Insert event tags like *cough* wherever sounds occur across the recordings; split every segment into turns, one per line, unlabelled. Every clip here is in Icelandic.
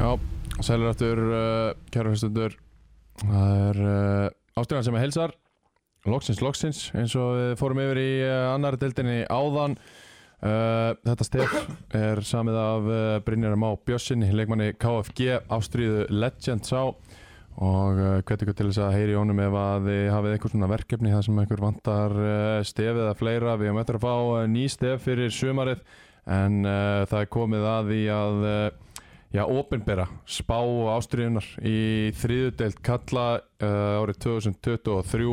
Já, sælir aftur, uh, kæra hlustundur Það er uh, ástæðan sem er helsar Loksins, loksins eins og við fórum yfir í uh, annar deildinni áðan uh, Þetta stef er samið af uh, Brynjar Má Bjössin leikmanni KFG, ástríðu Legend sá og uh, hvet ykkur til þess að heyri honum ef að þið hafið eitthvað svona verkefni þar sem ykkur vantar uh, stefið eða fleira við höfum eftir að fá uh, ný stef fyrir sumarið en uh, það er komið að því að uh, Já, opinbera, spá ástriðunar í þriðudelt kalla uh, árið 2023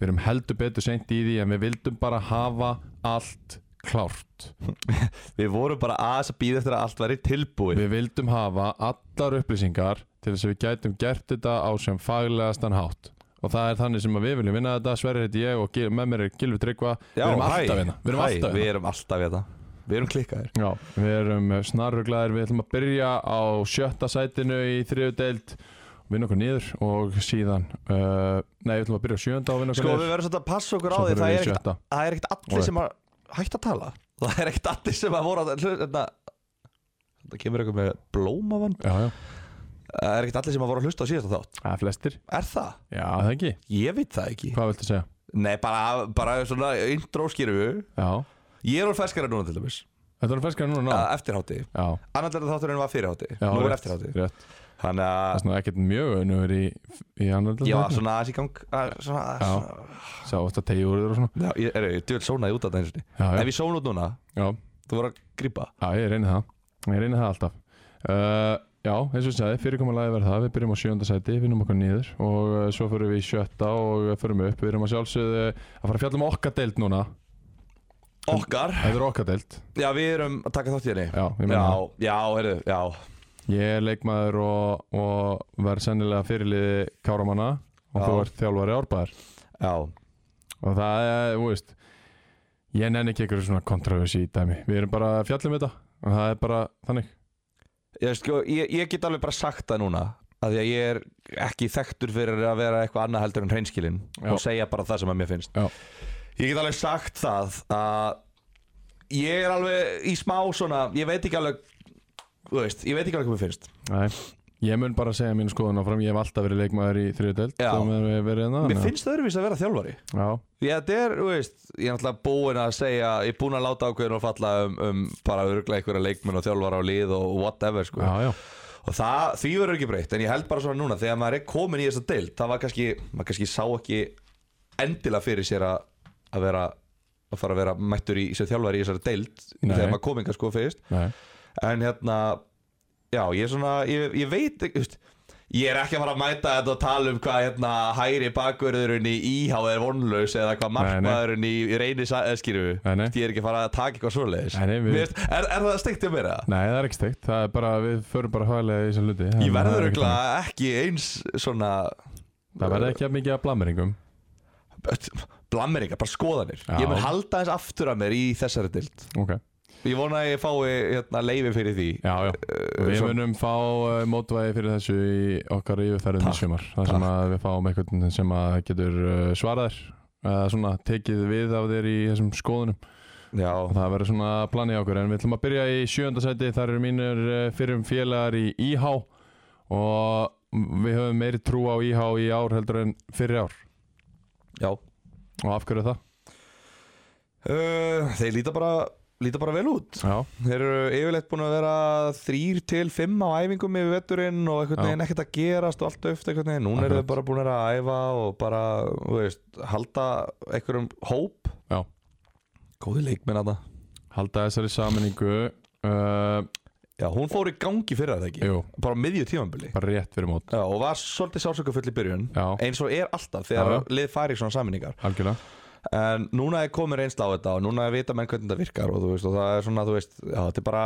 við erum heldur betur seint í því en við vildum bara hafa allt klárt.
Við vorum bara aðeins að býða eftir að allt væri tilbúið
Við vildum hafa allar upplýsingar til þess að við gætum gert þetta á sem faglegastan hátt og það er þannig sem að við viljum vinna þetta, Sverri heiti ég og Gil- með mér er Gilvi Tryggva við erum alltaf vinna, við erum alltaf
Við
vinna.
erum alltaf hérna Við erum klikkaðir
Já, við erum snarruglaðir, við ætlum að byrja á sjötta sætinu í þriðudelt vinna okkur niður og síðan uh, nei, við ætlum að byrja á sjönda og vinna okkur
Sko við
niður
verðum svolítið að passa okkur á
Svo
því
förum
Það
við í
er ekkert-
sjötta.
það er ekkert allir
Alright.
sem að hægt að tala *laughs* Það er ekkert allir sem að voru að hlusta Þetta kemur eitthvað með blómavann
Já, já,
Það er ekkert allir sem að voru að hlusta á síðasta þátt
það er flestir
Er það?
Já, það ekki,
Ég veit það ekki
hvað viltu segja?
Nei, bara, bara svona intro skýrum við
Já,
Ég er úr ferskara núna til dæmis
þetta er ferskar núna
Að Eftirhátti
Já,
Annarlega þátturinn var fyrirhátti
já
Nú er
rétt,
eftirhátti
rétt.
Þannig
Það
að
er svona ekkert mjög unnur í, í annar
ég var svona aðeins í gang að- Svona
Já.
svona-
Sá, þetta tegi úr þér og svona
Já, ég, er, ég djöl sónaði út af það eins og niður
Já,
Ef
já,
ég sóna út núna,
já,
þú voru að grípa
já ég reyni það Ég reyni það alltaf uh, Já, eins og ég sagði, fyrirkommalagi verð það Við byrjum á sjönda sæti, vinnum okkur niður og uh, svo förum við í sjötta og uh, förum upp Við erum að sjálfsögðu uh, að fara að fjalla um okkar deild núna
Okkar,
Þetta er okkar deild,
já við erum að taka þátt í henni
já, ég meina
Já,
það
já, heyrðu, já
Ég er leikmaður og, og verð sennilega fyrirliði Káramanna og
Já.
þú ert þjálfari árbæðar
Já,
og það er, þú veist ég nenni ekki einhverju svona kontraversi í dæmi við erum bara að fjalla um þetta og það er bara þannig
ég, sko, ég, ég get alveg bara sagt það núna að Því að ég er ekki þekktur fyrir að vera eitthvað annað heldur en hreinskilin
Já.
Og segja bara það sem að mér finnst
Já.
Ég get alveg sagt það að Ég er alveg í smá svona, ég veit ekki alveg Þú veist, ég veit ekki alveg hvað mér finnst
Nei. ég mun bara segja mínu skoðun áfram ég hef alltaf verið leikmaður í þriðdelt
Já.
þá við verið hérna
Mér
þannig
finnst það öðruvís að vera þjálfari
að- já,
Því að þetta er, þú veist, ég er náttúrulega búinn að segja, ég er búinn að láta ákveðin og falla um, um bara örglega einhverja leikmenn og þjálfara á lið og whatever, sko.
já, já,
Og það, því verður ekki breytt, en ég held bara svona núna, þegar maður er komin í þessa deild, það var kannski, maður kannski sá ekki endilega fyrir sér að, að vera, að fara að vera mættur í sér þjálfari í þessari deild,
Nei.
þegar maður komin kannski sko fyrst.
nei,
En hérna, já, ég er svona, ég, ég veit ekki, þú veist, Ég er ekki að fara að mæta þetta og tala um hvað hérna, hæri bakverðurinn í íhá er vonlaus eða hvað
Nei, nei.
markmaðurinn í í reyni skýrfu.
Nei, nei.
Ég er ekki að fara að taka eitthvað svoleiðis.
Nei, nei, við-
Mér finnst- er, er það steikt hjá mér það?
nei, það er ekki steikt það er bara, við förum bara hægilega í þessum hluti
Ég
Þannig að það
verður
er ekki
örugglega
þannig.
ekki eins svona
það verður ekki að mikið að blameringum
blammeringar, bara skoðanir.
Já.
Ég mun halda eins aftur af mér í þessari dild.
ok,
Ég vona að ég fái hérna, leifi fyrir því. Eh,
já, já Og Við
svo-
munum fá uh, mótvæði fyrir þessu í okkar yfirferðum í
Takk,
sumar þar sem
takk.
að við fáum einhvern sem að getur uh, svaraðir eða svona tekið við af þér í þessum skoðunum
Já.
og það verður svona planið okkur en við ætlum að byrja í sjönda sæti þar eru mínir uh, fyrirum félagar í IH og við höfum meiri trú á IH í ár heldur en fyrir ár
Já.
og af hverju er það?
Uh, þeir líta bara, líta bara vel út.
Já,
Þeir eru yfirleitt búin að vera þrýr til fimm á æfingum yfir vetturinn og einhvern
Já.
veginn ekkert að gerast og allt auft einhvern veginn. Núna eru
Akkurat.
þeir bara búin að æfa og bara, þú veist, halda einhverjum hóp.
Já.
Góði leikminn að það.
halda þessari saminningu uh,
Já, hún fór í gangi fyrir það ekki.
jú,
Bara á miðju tímanbili.
bara rétt fyrir mót
Já, og var svolítið sálsökufull í byrjun.
Já,
Eins og er alltaf þegar
Já, já.
lið fari í svona saminningar.
algjörlega
En núna er komin reynsla á þetta og núna er vita menn hvernig þetta virkar og þú veist, og það er svona, þú veist, já, þetta er bara,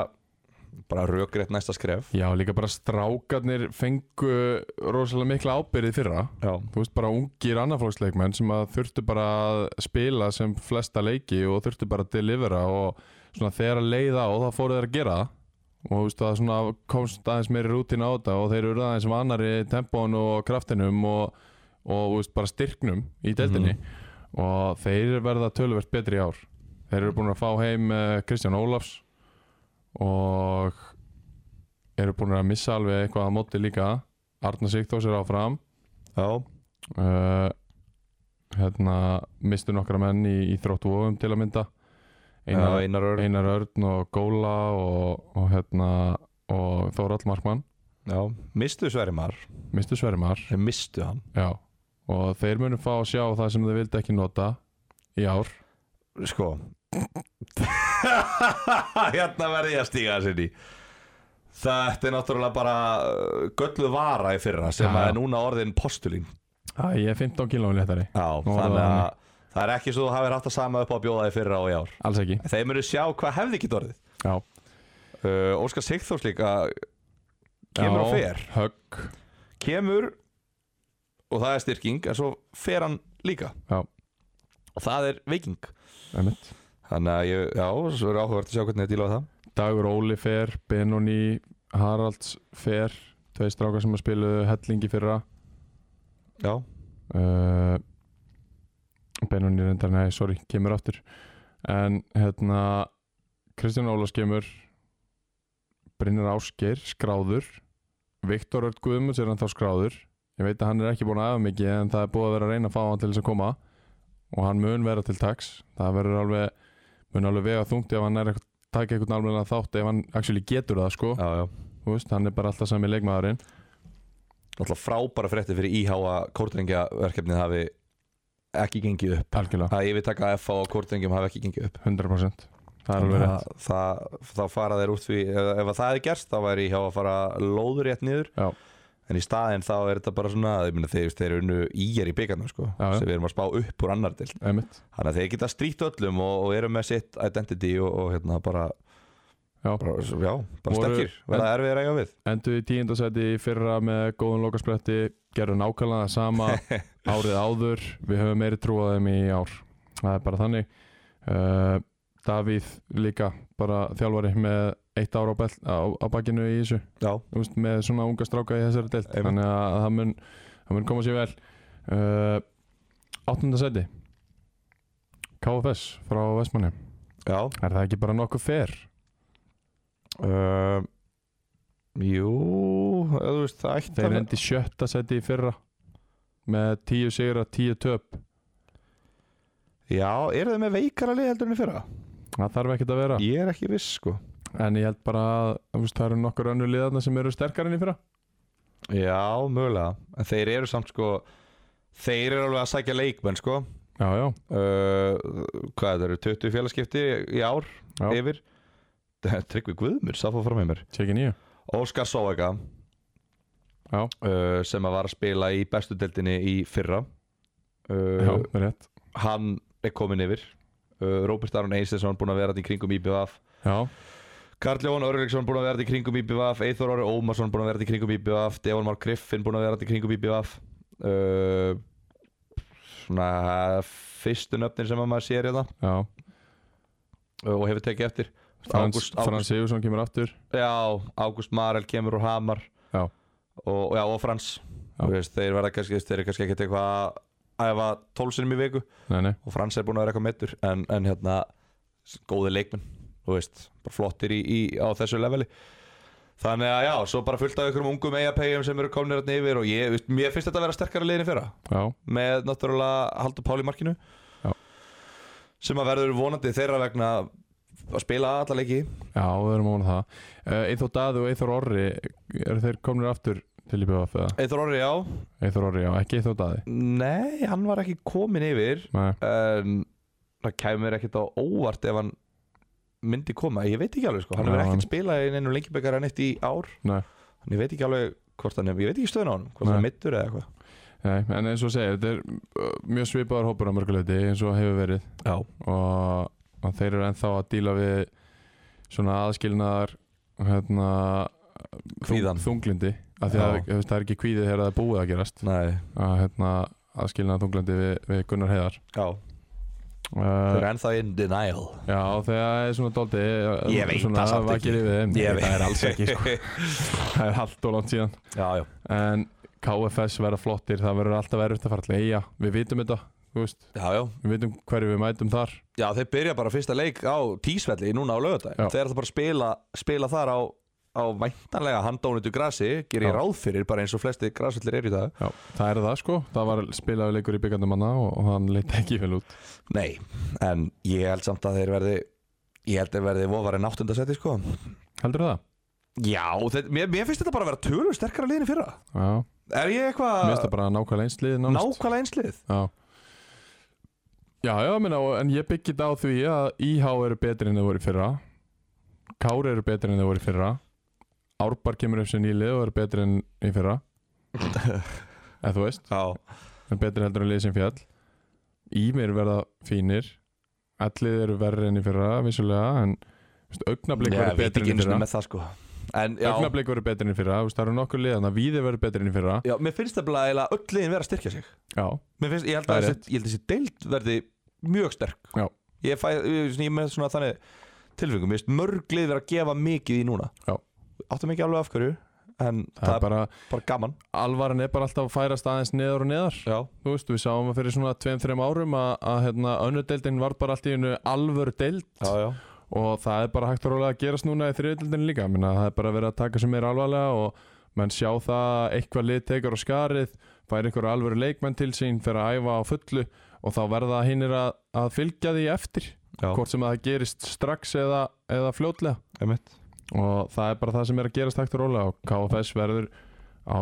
bara rökrétt næsta skref
Já, líka bara strákarnir fengu rosalega mikla ábyrði fyrra
Já,
Þú veist bara ungir annarflóksleikmenn sem að þurftu bara að spila sem flesta leiki og þurftu bara að delivera og svona þegar að leiða og það fóru þeir að gera það. og þú veist það svona komst aðeins meiri rútin á þetta og þeir eru aðeins vanari tempón og kraftinum og, og þú veist bara styrknum í deildinni og þeir verða töluvert betri í ár þeir eru búin að fá heim eh, Kristján Ólafs og eru búin að missa alveg eitthvað á móti líka Arna Sigtós er áfram
já,
uh, hérna mistu nokkra menn í, í þróttu ofum til að mynda Einar,
einar, einar örn
Einar Örn og Góla og, og hérna og Þórald Markmann
Já, mistu Sverimar,
mistu Sverimar
þeir mistu hann
já, og þeir munu fá að sjá það sem þeir vildi ekki nota í ár
Sko *laughs* Hérna verði ég að stíga þessi inn í Þetta er náttúrulega bara uh, gölluð vara í fyrra sem
Já.
að er núna orðin postulín
Æ, ég er 15 kílóin léttari,
Já,
Nú er
þannig
það
að það er ekki svo þú hafið rætt að sama upp á að bjóða í fyrra og í ár
alls ekki
Þeir munu sjá hvað hefði ekki orðið
já,
uh, Óskar Sigþórs líka kemur
já,
og fer
högg,
Kemur og það er styrking en svo fer hann líka
Já.
Og það er viking
einmitt
Þannig að ég, já, svo er áhugavert að sjá hvernig ég díla á það
Dagur Óli fer, Benoni Haralds fer tvei strákar sem að spiluðu hellingi fyrra
Já,
uh, Benoni reyndar, nei, sorry, kemur aftur en hérna Kristján Ólafs kemur Brynjar Ásgeir skráður Viktor Örd Guðmunds er hann þá skráður ég veit að hann er ekki búin að æfa mikið en það er búið að vera að reyna að fá hann til þess að koma og hann mun vera til taks það verður alveg mun alveg vega þungt ef hann er að taka einhvern alveg þátt ef hann actually getur það sko
já, já
Þú veist, hann er bara alltaf sami leikmaðurinn
Náttúrulega frábæra frétti fyrir IH að kórdrengjaverkefnið hafi ekki gengið upp
algjörlega,
að yfirtaka FH og kórdrengjum hafi ekki gengið upp
100% það er alveg rétt
það, þá fara þeir út því ef, ef það hefði gerst þá væri IH að fara lóður rétt niður
Já. en
en í staðinn þá er þetta bara svona ég meina, þeir, þeir eru unnu íger í byggarnum sko,
Já, já.
sem við erum að spá upp úr annar til
einmitt,
þannig að þeir geta strýtt öllum og, og eru með sitt identity og, og hérna bara,
já
bara, já, bara
Voru-
sterkir verða erfið að eiga við
Enduðu í tíundasæti í fyrra með góðum lokaspretti, gerðu nákvæmlega það sama
*laughs*
árið áður, við höfum meiri trú á þeim í ár. Það er bara þannig. Uh, Davíð líka, bara þjálfari með eitt ár á, bel, á, á bakinu í þessu,
já,
Þú veist, með svona unga stráka í þessari deilt.
Einmitt.
Þannig að það mun, það mun koma sér vel. Uh, Áttundasæti, KFS frá Vestmanni.
já
Er það ekki bara nokkuð fer?
Um, jú, eða þú veist, það ætti
Þeir
að-
endi í sjötta sæti í fyrra með tíu sigra, tíu töp
Já, eru þau með veikara lið heldur enn í fyrra?
það þarf ekkert að vera
Ég er ekki viss, sko
en ég held bara að þú veist, það eru nokkur önnur liðarna sem eru sterkar enn í fyrra
Já, mögulega En þeir eru samt, sko Þeir eru alveg að sækja leikmenn, sko uh,
já, já,
Hvað þetta eru, 20 félagskipti í ár
Já.
Yfir *laughs* Tryggvi Guðmur, sá fór fram með mér
tjekki nýju
Óskar Sóvega
Já.
uh, Sem að var að spila í bestu deildinni í fyrra
já,
uh,
það er rétt
Hann er kominn yfir uh, Róbert Aron Einstensson búin að vera þetta í kringum IBVF
já,
Karl Jóhann Örleksson búin að vera þetta í kringum IBVF Eithor Orri Ómarsson búin að vera þetta í kringum IBVF Devon Már Griffin búin að vera þetta í kringum IBVF uh, Svona eh, fyrstu nöfnir sem að maður sér þetta
já,
uh, og hefur tekið eftir
Frans,
Ágúst- Ágúst-
Frans Sigursson kemur aftur
Já, Ágúst Marel kemur úr Hamar
Já.
Og, já, og Frans
Já.
Þú veist, þeir, verða kannski, þeir eru kannski ekkert eitthvað að æfa tólsinum í viku
nei, nei,
og Frans er búin að vera eitthvað meittur en, en hérna, góði leikmenn þú veist, bara flottir í, í, á þessu leveli þannig að já, svo bara fullt af einhverjum ungum eigapægjum sem eru komnir hérna yfir og ég, veist, mér finnst þetta að vera sterkara liðin í fyrra
já,
með náttúrulega Haldur Pál í markinu
Já.
sem að verður vonandi þeirra vegna að spila alla leiki
já, við erum ofan það uh, Eithor Daði og Eithor Orri eru þeir komnir aftur til í BVF eða?
Eithor Orri já,
Eithor Orri, já, ekki Eithor Daði
nei, hann var ekki komin yfir
nei,
en það kæmur ekkert á óvart ef hann myndi koma, ég veit ekki alveg sko hann
Já,
hefur
hann-
ekkert spilað í neinu lengjubekar en eitt í ár
Nei.
en ég veit ekki alveg hvort hann er, ég veit ekki stöðun á hann hvort
Nei.
hann er mittur eða eitthvað
nei, en eins og segir, þetta er uh, mjög svipaður hópur á mörguleiti eins og hefur verið
Já.
og, og þeir eru ennþá að díla við svona aðskilnaðar hérna,
Kvíðan.
þunglindi af því að
Já.
þú veist, það er ekki kvíðið þegar það er búið að gerast
Nei,
að, hérna, að skilna þunglindi við, við Gunnar Heiðar
já, þau
uh,
eru ennþá in denial
Já, þegar það er svona dóldi
Ég veit
svona,
það samt
vakir
ekki.
yfir þeim.
Ég veit.
Það er alls ekki sko.
*laughs*
Það er halvt og langt síðan
Já, já,
En KFS verða flottir Það verður alltaf erfitt að fara til eiga Við vitum þetta, þú veist
já, já
Við vitum hverju við mætum þar
Já, þeir byrja bara fyrsta leik á tísvelli núna á lögadag
Já.
Þeir ætla bara að spila, spila þar á, á væntanlega handónitu grasi Gerir
Já.
ráð fyrir bara eins og flesti grasvellir eru í dag
Já, það er það sko Það var spilaði leikur í byggandum manna og, og hann leitt ekki vel út
Nei, en ég held samt að þeir verði Ég held að þeir verði vofarinn áttundasetti sko
Heldur það?
Já, þeir, mér, mér finnst þetta bara að vera tölum sterkara liðin fyrra
Já,
Er
mér
ég
finnst
eitthvað
það bara nákvæmlega einslið
nákvæmlega einslið?
Já Já, já, minna, en ég byggi þetta á því að IH eru betri en þau voru í fyrra Kári eru betri en þau voru í fyrra Árbar kemur upp sem nýlið og eru betri en í fyrra En þú veist,
Já,
er betri heldur en lið sem fjall Ímir verða fínir Ellið eru verri enn í fyrra, vissulega En augnablík
ég
verður
veit
betri
ekki
enn í
eins og
fyrra
með það sko En já,
Augnablík verður betri enn í fyrra, þú veist, það eru nokkur lið Þannig að Víði verður betri enn í fyrra
já mér finnst það bara eiginlega öll liðin vera að styrkja sig
Já,
Mér finnst, ég held
Það
að
er
þessi, ég held að þessi deild verði mjög sterk
Já.
Ég fæ, ég, svona- ég er með svona þannig tilfengum, mér finnst mörg lið verið að gefa mikið í núna
Já.
Áttum ekki alveg af hverju, en það,
það er bara
er bara gaman
Alvaran er bara alltaf að færast aðeins neðar og neðar
Já,
Þú veist, við sáum að fyrir svona 2-3 árum að, að hérna, önnu deildin var bara allt í einu alvöru deild
já, já
og það er bara hægt og rólega að gerast núna í þriðdeildin líka, minna það er bara verið að taka sem er alvarlega og menn sjá það að eitthvað lið tekur á skarið, fær einhver alvöru leikmenn til sín, fer að æfa á fullu og þá verða hinnir að, að fylgja því eftir,
Já,
hvort sem það gerist strax eða, eða fljótlega
einmitt
og það er bara það sem er að gerast hægt og rólega og KFS verður á,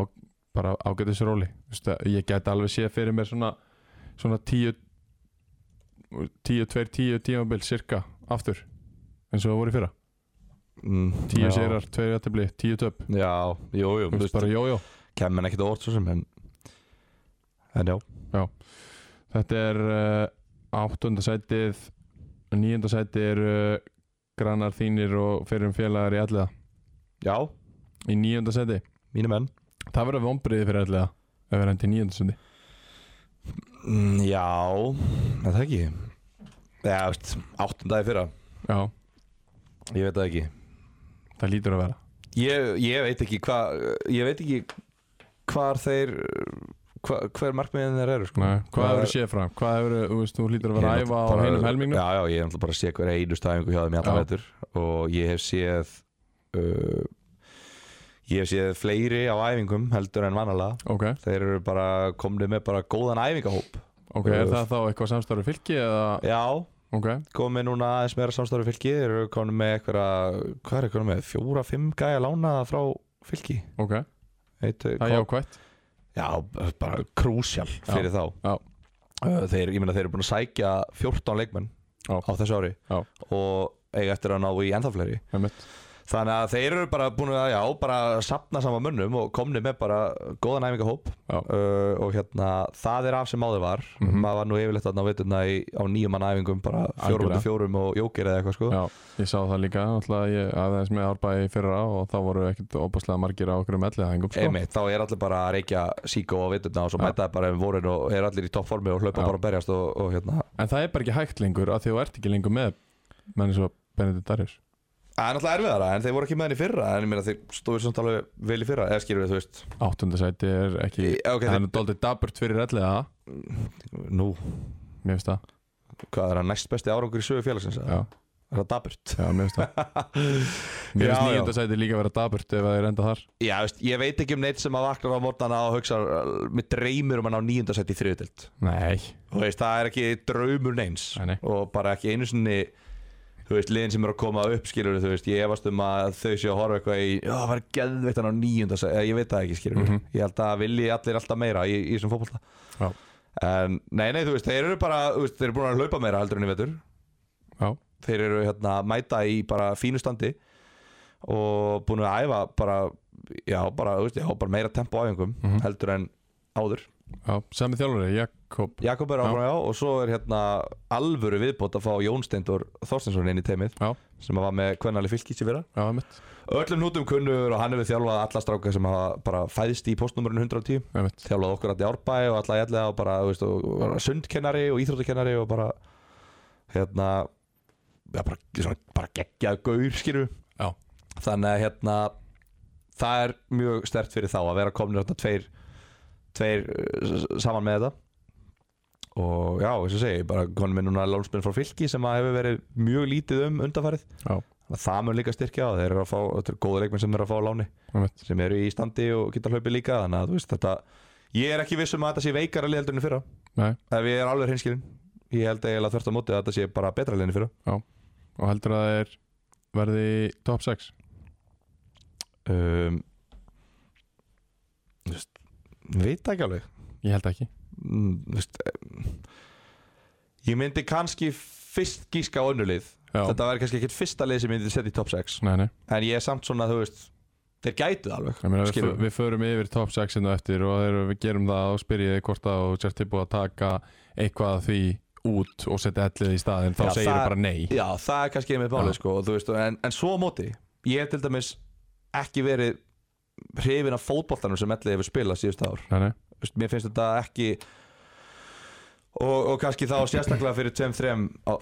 bara ágætis róli Þú veist að ég get alveg séð fyrir mér svona svona 10 10, 2, 10 tímabil cirka aftur eins og það voru í fyrra 10 sérar, 2 jættibli, 10 töp
Mm, Já, jú, jú,
Þú veist, bara jójó
kemur ekkert á orð svo sem, en En já,
þetta er uh, 8. sætið 9. sætið er uh, grannar þínir og fyrir um félagar í allega
já,
í 9. sæti,
mínu menn
það verður vombriði fyrir allega ef við erum til 9. sæti
Mm, Já, er það ekki Já, veist, áttundagi fyrra
já,
Ég veit það ekki
það lítur að vera
Ég, ég veit ekki hvað Ég veit ekki hvar þeir hva, Hver markmiðin þeir eru sko.
Nei, hvað
Það
hefur
er-
séð fram? Hvað hefur, þú veist, þú hlýtur að
Ég
vera
er
að æfa á
náttúrulega bara-
hinum helmingnum
Já, já, ég er náttúrulega bara að sé hver einustu æfingu hjá þeim í
Já.
allan veitur Og ég hef séð uh, Ég hef séð fleiri á æfingum heldur en vanalega
Ok,
Þeir eru bara komnið með bara góðan æfingahóp
ok, er
Uh,
það þá eitthvað samstarfi fylki eða,
Já,
ok,
komið núna aðeins meira samstarfi fylki Þeir eru komnið með eitthvað Hvað er komnið með? Fjóra, fimm gæja lána frá fylki
ok,
Eitt,
það er jákvætt
Já, bara krúsjál fyrir þá
já.
Uh, Þeir, ég meina þeir eru búin að sækja 14 leikmenn
Já.
á þessu ári
Já.
og eiga eftir að ná í ennþá fleiri
einmitt.
Þannig að þeir eru bara búin að, já, bara sapna saman munnum og komni með bara góðan æfingahóp
Já.
uh, og hérna, það er af sem áður var
Mhm.
maður var nú yfirleitt að ná vituna í, á nýjum mann æfingum bara fjórum
Algjörlega.
undir fjórum og jókir eða eitthvað sko
Já, ég sá það líka, náttúrulega ég aðeins með árbæði í fyrra og þá voru ekkert óbáslega margir á okkur um ellið hengum sko.
Einmitt, þá er allir bara að reykja síkó á vituna og
Já.
svo mæta þeir bara um vorin og er allir í toppformi og
Já.
hlaupa bara að berjast og, og hérna,
En það er bara ekki hægt lengur að því þú ert ekki lengur með menn eins og Benedikt Darius
Það er náttúrulega erfiðara en þeir voru ekki með henni í fyrra en ég meina þeir stóður samt alveg vel í fyrra eða skilur við þú veist
Áttundasæti er ekki,
Í- ok,
það er doldið daburt fyrir ellið það,
Nú,
mér finnst það
hvað er það næst besti árangur í sögu félagsins? eða?
Já,
Er það daburt?
já mér finnst það
*laughs*
Mér
Já,
finnst
já.
nýjundasæti líka vera daburt ef það er enda þar
Já, þú veist, ég veit ekki um neitt sem að vaknar á morgnana og hugsa mér dreymir um hann á nýjöndasætt í þriðutild
Nei,
Þú veist, það er ekki draumur neins
Nei, nei.
og bara ekki einu sinni þú veist, liðin sem eru að koma upp skilur við, þú veist, ég efast um að þau séu að horfa eitthvað í, já, það var geðveitt hann á nýjöndasætt ég veit það ekki skilur við, ég held að vilji allir alltaf meira í, í þessum fótbolta
já,
En nei, nei, þú veist, þeir eru bara, þú veist, þeir eru búin að hlaupa meira heldur en í vetur
já
Þeir eru hérna að mæta í bara fínu standi og búin að æfa bara, já, bara, þú veist, já, bara meira tempo á æfingum heldur en áður
Já, sami þjálfari, Jack Jakob
Jakob er áfram já. og svo er hérna alvöru viðbót að fá Jón Steindur Þorstinsson inn í teimið
Já,
sem að var með kvennali fylkis í fyrra
já, einmitt,
öllum nútum kunnur og hann hefur þjálfað alla stráka sem hafa bara fæðst í postnumurinn 110
einmitt
þjálfað okkur allir árbæði og alla jætlega og bara, þú veist, og, og bara sundkennari og íþróttukennari og bara hérna já, bara, svona, bara geggjað gaur skýru
Já,
þannig að hérna það er mjög stert fyrir þá að vera komnir hérna tveir, tveir uh, s- saman með þetta og já, eins og segi, bara konum við núna lónsmenn frá fylki sem að hefur verið mjög lítið um undanfarið
já,
Þannig að það mun líka styrkja og þeir eru að fá, þetta eru góða leikmenn sem eru að fá á láni
einmitt
sem eru í standi og geta hlaupið líka þannig að þú veist þetta ég er ekki viss um að þetta sé veikara lið heldur enn í fyrra
Nei,
ef ég er alveg hinskilinn ég held eiginlega þvert á móti að þetta sé bara betra lið enn í fyrra
og heldur að þeir verði í top 6
um, þú veist veit það ekki alveg
Ég held ekki
Mm, þú veist, em, ég myndi kannski fyrst gíska á önnulið
Já,
þetta væri kannski ekkit fyrsta lið sem ég myndi setja í top 6
nei, nei
en ég er samt svona þú veist þeir gætu það alveg
Ég meina, við,
Skilur.
við förum yfir top 6 innan eftir og þegar við gerum það og spyrjið hvort að þú sér tilbúið að taka eitthvað af því út og setja ellið í staðin þá
Já,
segir
það-
það bara nei
Já, það er kannski einmitt málið
Já.
sko, og þú veist, en, en svo á móti ég hef til dæmis ekki verið hrifin af fótboltanum sem Elli hefur spilað síðust ár
Nei, nei,
Þú veist, mér finnst þetta ekki og, og kannski þá sérstaklega fyrir 2-3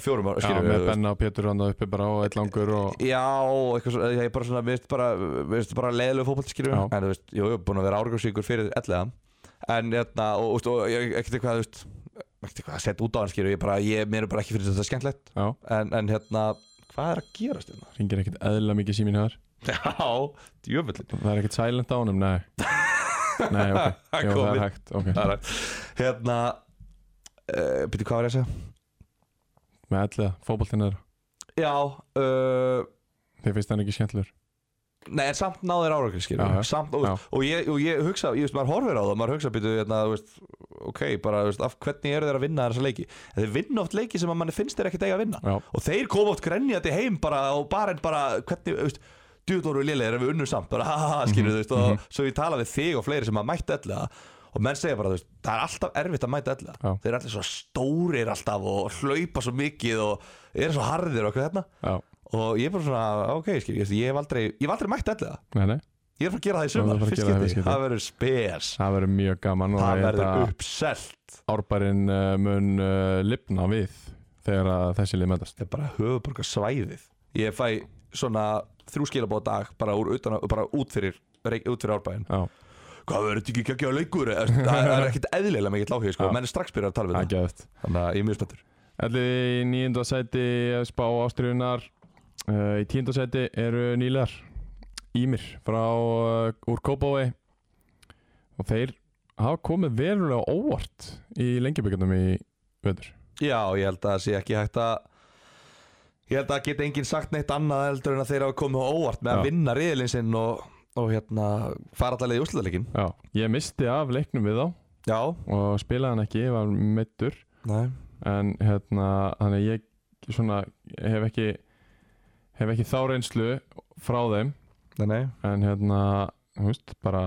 fjórum ára
já, með Benna og Pétur hann uppi bara á eitt langur og
Já, og eitthvað svona, ég er bara svona, við veist bara, við veist bara leiðilegu fótbolti skilur
Já.
En þú veist, jú, jú, búin að vera árgangsvíkur fyrir ellega En hérna, og, og, og ég- ekkert eitthvað, þú veist, ekkert eitthvað að setja út á hann skilur Ég bara, ég, mér er bara ekki fyrir þetta skemmtlegt
já,
en, en hérna, hvað er að gerast hérna?
ringir ekkert eðla mikið síminn hér
Já, djöfullin
Það er ekkert silent á honum,
*laughs*
nei Nei, ok,
Það
Jó, það er
komið.
hægt ok.
Hérna uh, Býttu, hvað var ég að segja?
Með ellið, fótboltinn er
Já uh,
Þið finnst hann ekki skemmtlur
Nei, en samt náður árangri skilur
Já, já.
við. Samt, og,
Já.
og, ég, og ég hugsa, ég veist, maður horfir á það Maður hugsa, býttu, hérna, þú veist Ok, bara, þú veist, af hvernig eru þeir að vinna þessa leiki En Þeir vinna oft leiki sem að manni finnst þeir ekkert eiga að vinna
Já,
Og þeir koma oft grenjandi heim bara Og bara, bara, hvernig, þú veist Djúð voru lélegir ef við unnum samt Bara, ha, ha,
Mhm,
ha, skilur, þú veist Og svo ég tala við þig og fleiri sem að mættu ellega Og menn segja bara, þú veist, það er alltaf erfitt að mæta ellega
Já.
Þeir eru allir svo stórir alltaf og hlaupa svo mikið og eru svo harðir og eitthvað þarna
já,
og ég er bara svona, ok, skil, ég, ég hef aldrei ég hef aldrei mætt ellega,
nei, nei
ég er bara að gera það í
Já, þú ert að
sumar
fara að
fyrst
gera það í
skipti.
fyrst skipti.
það verður spes
Það verður mjög gaman og
það
ég held
verður
að
uppselt
árbærin uh, mun uh, lifna við þegar að þessi lið mætast
það er bara höfuborga svæðið ég fæ svona þrjú skilabóð dag bara, úr, utan, á- bara út fyrir reik, út fyrir árbæðin,
Já,
hvað verður þetta ekki ekki að leikur *laughs* Eða, þú veist, það það er ekkit eðlilega mikið láhug sko.
Já.
menn er strax byrjar að tala við
það er
það
geðvægt
þannig að ég er mjög spenntur
Ellið í nýjunda sæti eh, spá ástriðunar uh, Í tíunda sæti eru nýlegar Ímir frá uh, úr Kópavei og þeir hafa komið verulega á óvart í lengjubikarnum í vetur
já, ég held að það sé ekki hægt að ég held að það geti enginn sagt neitt annað heldur en að þeir hafa komið á óvart með að
Já.
vinna riðilinn sinn og, og hérna fara allavega í úrslutaleikin
Já, ég misti af leiknum við þá
já,
og spilaði hann ekki, ég var meittur
Nei.
en hérna, þannig að ég svona hef ekki hef ekki þá reynslu frá þeim
Nei, nei.
en hérna, þú veist, bara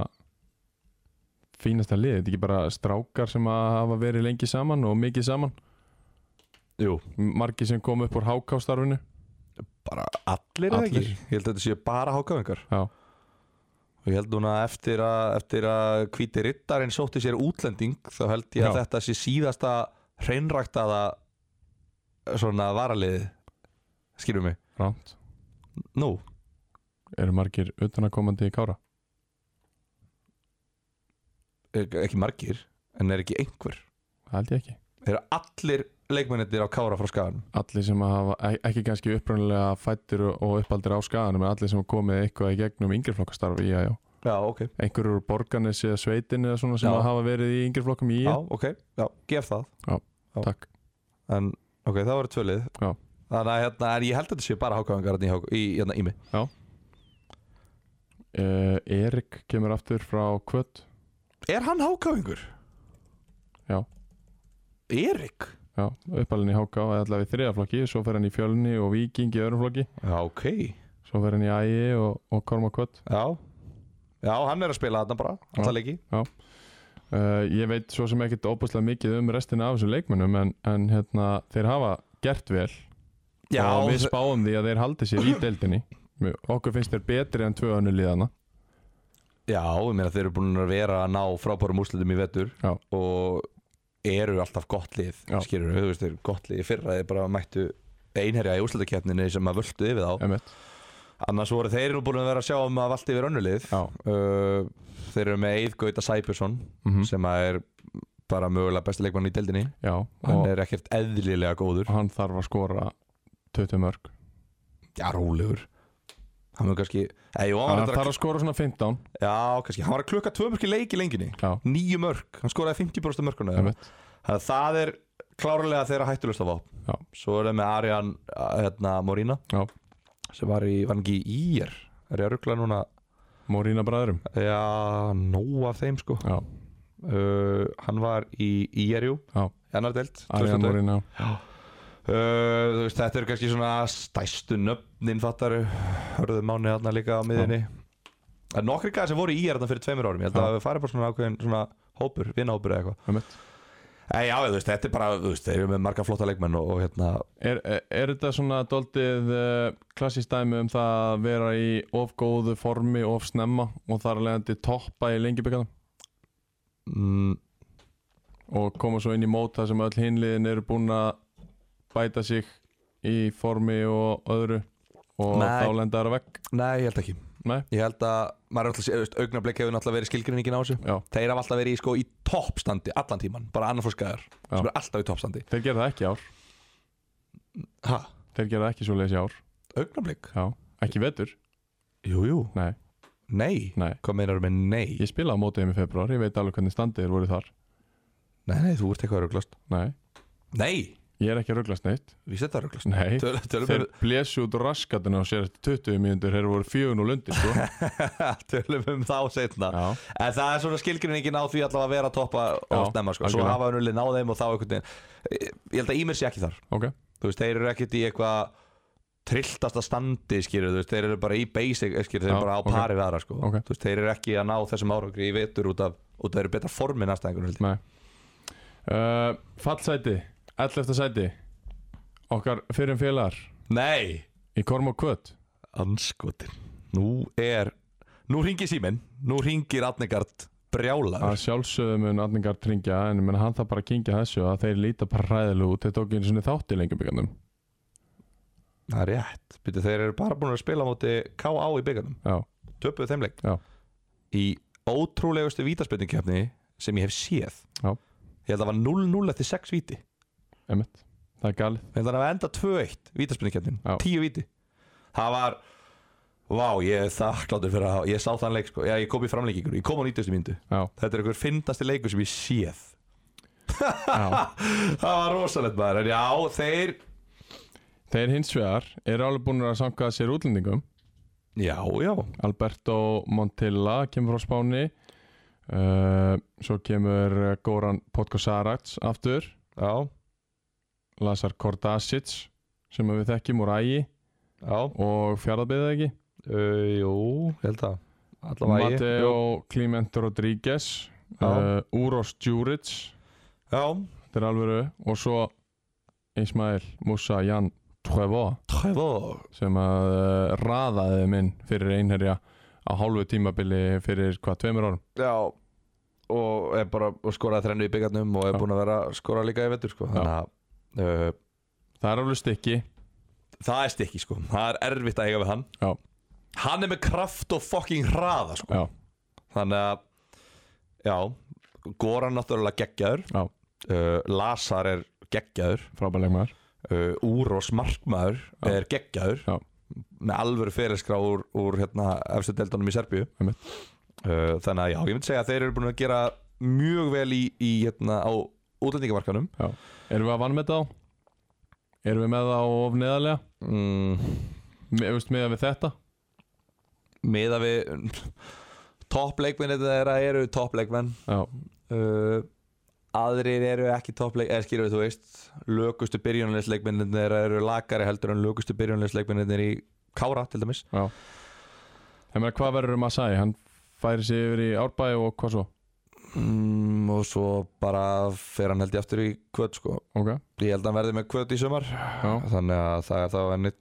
fínasta lið, þetta er ekki bara strákar sem að hafa verið lengi saman og mikið saman,
Jú,
margir sem kom upp úr hákástarfinu,
bara allir eða ekki
Allir.
Ég held að þetta séu bara hákafingar
já,
Og ég held núna eftir að, eftir að hvíti rittarinn sótti sér útlending Þá held ég að
Já.
þetta sé síðasta hreinræktaða Svona varaliði Skýrum mig
ránt
Nú,
eru margir utanakomandi í kára
er- e, ekki margir En er ekki einhver
Það held ég ekki,
Eru allir leikmennir á Kára frá skagan
allir sem að hafa ek- ekki kannski upprunalega fættir og uppaldir á skaganum en allir sem hafa komið eitthvað í gegnum yngreflokkastarf í að já
Já, ok
einhverjur úr borgarnes eða sveitin eða svona sem
Já.
að hafa verið í yngri flokkum í
Já,
já.
ok, já, gef það já.
takk
En ok, það voru tvölið
Já.
Þannig að hérna, en ég held að þetta séu bara hákafingar Í, Hák- í, hérna, í mig
uh, Erik kemur aftur frá Kvöt
Er hann hákáingur?
Já.
Erik?
já, uppalinn í HK eða allavega í þriða flokki svo fer hann í Fjölni og Víking í öðrum flokki
Já, ok
svo fer hann í Ægi og, og Korma Kvöt
Já Já, hann er að spila þarna bara,
Já.
alltaf leiki
Uh, ég veit svo sem ekkert óbúslega mikið um restina af þessum leikmönnum en, en hérna, þeir hafa gert vel
Já,
og við
þe-
spáum því að þeir haldi sér í deildinni Við- okkur finnst þeir betri en tvö önnu liðana
já, ég meina þeir eru búin að vera að ná frábærum úrslitum í vetur
Já.
og eru alltaf gott lið
Já.
skilur við, þú veist, þeir eru gott lið í fyrra þeir bara mættu einherja í úrslitakeppninni sem að völdu yfir þá
einmitt.
annars voru þeir nú búin að vera að sjá um að valda yfir önnulið
Já.
uh, þeir eru með Eid Gauta Sæbjörnsson
Mhm.
sem að er bara mögulega besti leikmann í deildinni
Já,
hann
og
er ekkert eðlilega góður
hann þarf að skora 20 mörg
já, rólegur hann var kannski Ei, jó, hann
hann
var
þarf
að,
að skora svona 15
já, kannski, hann var að klukka tvö mörk í leik í lenginni
Já.
níu mörk, hann skoraði 50% mörkuna
einmitt.
Þannig að það er klárlega þeirra hættulust að
Já.
fá svo er það með Arjan að, hérna, Morína
Já.
sem var í, var hann ekki í ír er ég að ruggla núna
Morína bræðurum
já, nóg af þeim sko
Já,
uh, hann var í IRU
Já.
annar delt
Arian Morína
Uh, veist, þetta eru kannski svona stæstu nöfnin fattaru hörðu mánu hérna líka á miðinni það er nokkri gæðar sem voru í IR hérna fyrir tveimur árum ég held
Já.
að við farið bara svona ákveðin svona hópur vinnahópur eða eitthvað
Einmitt.
Nei, já, þú veist, þetta er bara, þú veist, þeir eru með marga flotta leikmenn og, og hérna,
er, er, er þetta svona doldið uh, klassist dæmi um það að vera í of góðu formi, of snemma og þar að leiðandi toppa í lengibyggjana
mm,
og koma svo inn í mót þar sem öll hinliðin eru búin að bæta sig í formi og öðru og
Nei.
þá lenda þær að vekk
nei, ég held ekki
Nei.
Ég held að, maður er alltaf, þú veist, augnablik hefur náttúrulega verið skilgrinningin á þessu
Já,
Þeir hafa alltaf verið í, sko, í toppstandi allan tíman, bara annarfórskæðar
Já.
sem eru alltaf í toppstandi
þeir gera það ekki í ár
Hæ,
Þeir gera það ekki svo leiðis í ár
augnablik?
Já, ekki í vetur
Jú, jú
Nei,
Nei,
nei
hvað meinar með nei?
Ég spilaði á mótið þeim í februar, ég veit alveg hvernig standið þeir voru þar
Nei, nei, þú ert eitthvað rugglast
Nei,
Nei,
ég er ekki að ruglast neitt
við setja rugglast
Nei,
Tölum, tölum,
Þeir blésu út raskatinn á sér eftir 20 mínútur, þeir voru fjögun og lundi sko.
um, *laughs* tölum um þá setna
*laughs* Já,
En það er svona skilgrinningin á því allavega að vera að toppa
Já,
og snemma sko. Svo
algjörlega.
hafa önnulinn á þeim og þá einhvern veginn Ég held að Ímir sé ekki þar
ok,
Þú veist, þeir eru ekkert í eitthvað trilltasta standi skýrur, þú veist, þeir eru bara í basic skýrur, þeir
Já,
eru bara á
ok.
pari við aðra sko.
Ok.
þú veist, þeir eru ekki að ná þessum árangri í vetur út af, út af þeir eru betra formin aðstæðingur
nei uh, Fallsæti, 11. sæti Okkar fyrirum félagar
Nei,
Í Korm og Kvöt
anskotin Nú er, nú ringir síminn nú ringir Atnegard brjálar
Að sjálfsögðu mun Adningar tringja En menn, hann þarf bara að kynkja þessu að þeir líta bara ræðilega út Þeir tók einu svona þátt í lengjabíkarnum
Það er rétt, Býtu, þeir eru bara búin að spila á móti K.A. í byggarnum,
Já,
töpuðu þeim leik
Já.
Í ótrúlegustu vítaspenningkefni sem ég hef séð
Já.
Ég held að það var 0-0 eftir 6 víti
emitt, það er galið
Ég held að það var enda 2-1 vítaspenningkefnin,
Já.
10 víti Það var, vá, ég er þakkláttur fyrir að ég sá þann leik sko. Já, ég kom í framleikingur, ég kom á 90. myndu
Já,
Þetta er einhver fyndasti leikur sem ég séð
já *laughs*
Það var rosalegt maður, en já, þeir
Þeir hins vegar eru alveg búin að sanga sér útlendingum
Já, já
Alberto Montilla kemur frá Spáni uh, svo kemur uh, Goran Podkosarac aftur
Já,
Lazar Kordasic sem við þekkjum úr ægi
já,
og fjaraðbyða ekki
uh, jú, ég held að Allavega ég
Mateo Clemente Rodríguez
Já.
uh, Uros Djuric
Já,
þetta er alvöru og svo Ismail Musa Jan Trevo
træfó
sem að uh, raðaði þeim inn fyrir einherja á hálfu tímabili fyrir hvað tveimur árum
Já og er bara og skoraði þrennu í byggarnum og er
Já.
búinn að vera að skora líka í vetur sko. þannig að uh,
það er alveg stykki
það er stikki sko það er erfitt að eiga við hann
Já.
hann er með kraft og fucking hraða sko.
já,
þannig að já, Goran náttúrulega geggjaður
Já.
uh, Lazar er geggjaður
frábæðlegmaður
uh, Úros Markmaður
Já.
er geggjaður
Já.
með alvöru fyrirskrá úr, úr hérna, efstu deildunum í Serbíu uh,
Einmitt.
þannig að já, ég myndi segja að þeir eru búin að gera mjög vel í, í hérna, á útlendingamarkanum
Erum við að vann með þá? Erum við með það of neðarlega?
mm,
Me- Veist með við þetta?
miða við *laughs* toppleikmenn þetta er að eru toppleikmenn
Já,
uh, aðrir eru ekki toppleik eða skilur þú veist, lögustu byrjunleisleikmenn þetta eru lakari heldur en lögustu byrjunleisleikmenn þetta í Kára til dæmis
já Ég meina hvað verður um að sæ? Hann færi sig yfir í árbæði og hvað svo?
mm, og svo bara fer hann held ég aftur í kvöt sko.
ok,
ég held að hann verði með kvöt í sumar
já,
þannig að það er þá ennit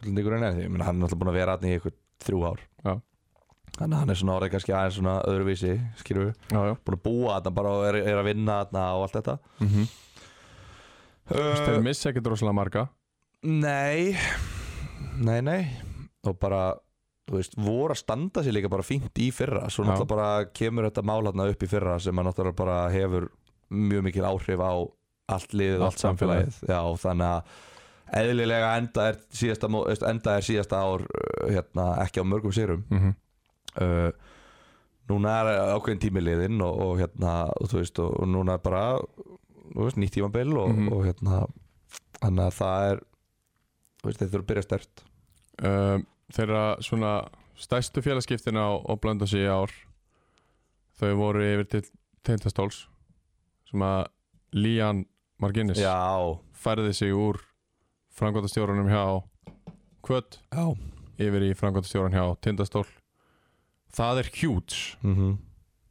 útlendingur en því, ég meina hann er alltaf búin að vera hann í ykkur þrjú ár
Já.
þannig að hann er svona orðið kannski aðeins svona öðruvísi skilur við,
já, já
búin að búa þarna bara og er, er að vinna þarna og allt þetta
mm -hmm.
uh,
Þeir missa ekkert rosalega marga
Nei Nei, nei Og bara, þú veist, voru að standa sér líka bara fínt í fyrra Svo
Já.
náttúrulega bara kemur þetta mál hérna upp í fyrra sem að náttúrulega bara hefur mjög mikil áhrif á allt liðið,
Allt
allt samfélagið Já, þannig að eðlilega enda er síðasta, mó- veist, enda er síðasta ár uh, hérna, ekki á mörgum sérum
mm
uh, núna er ákveðin tímiliðin og, og hérna og, þú veist, og, og núna er bara þú veist, nýtt tímabil og,
Mhm.
og hérna þannig að það er þú veist, þeir þurfa að byrja stert
um, Þeirra svona stærstu félagskiptin á, á Blöndansi í ár þau voru yfir til Tindastóls sem að Lían Marginnis
já,
færði sig úr frangotastjórunum hjá Kvöt
já
yfir í frangotastjórun hjá Tindastól Það er huge
mm -hmm.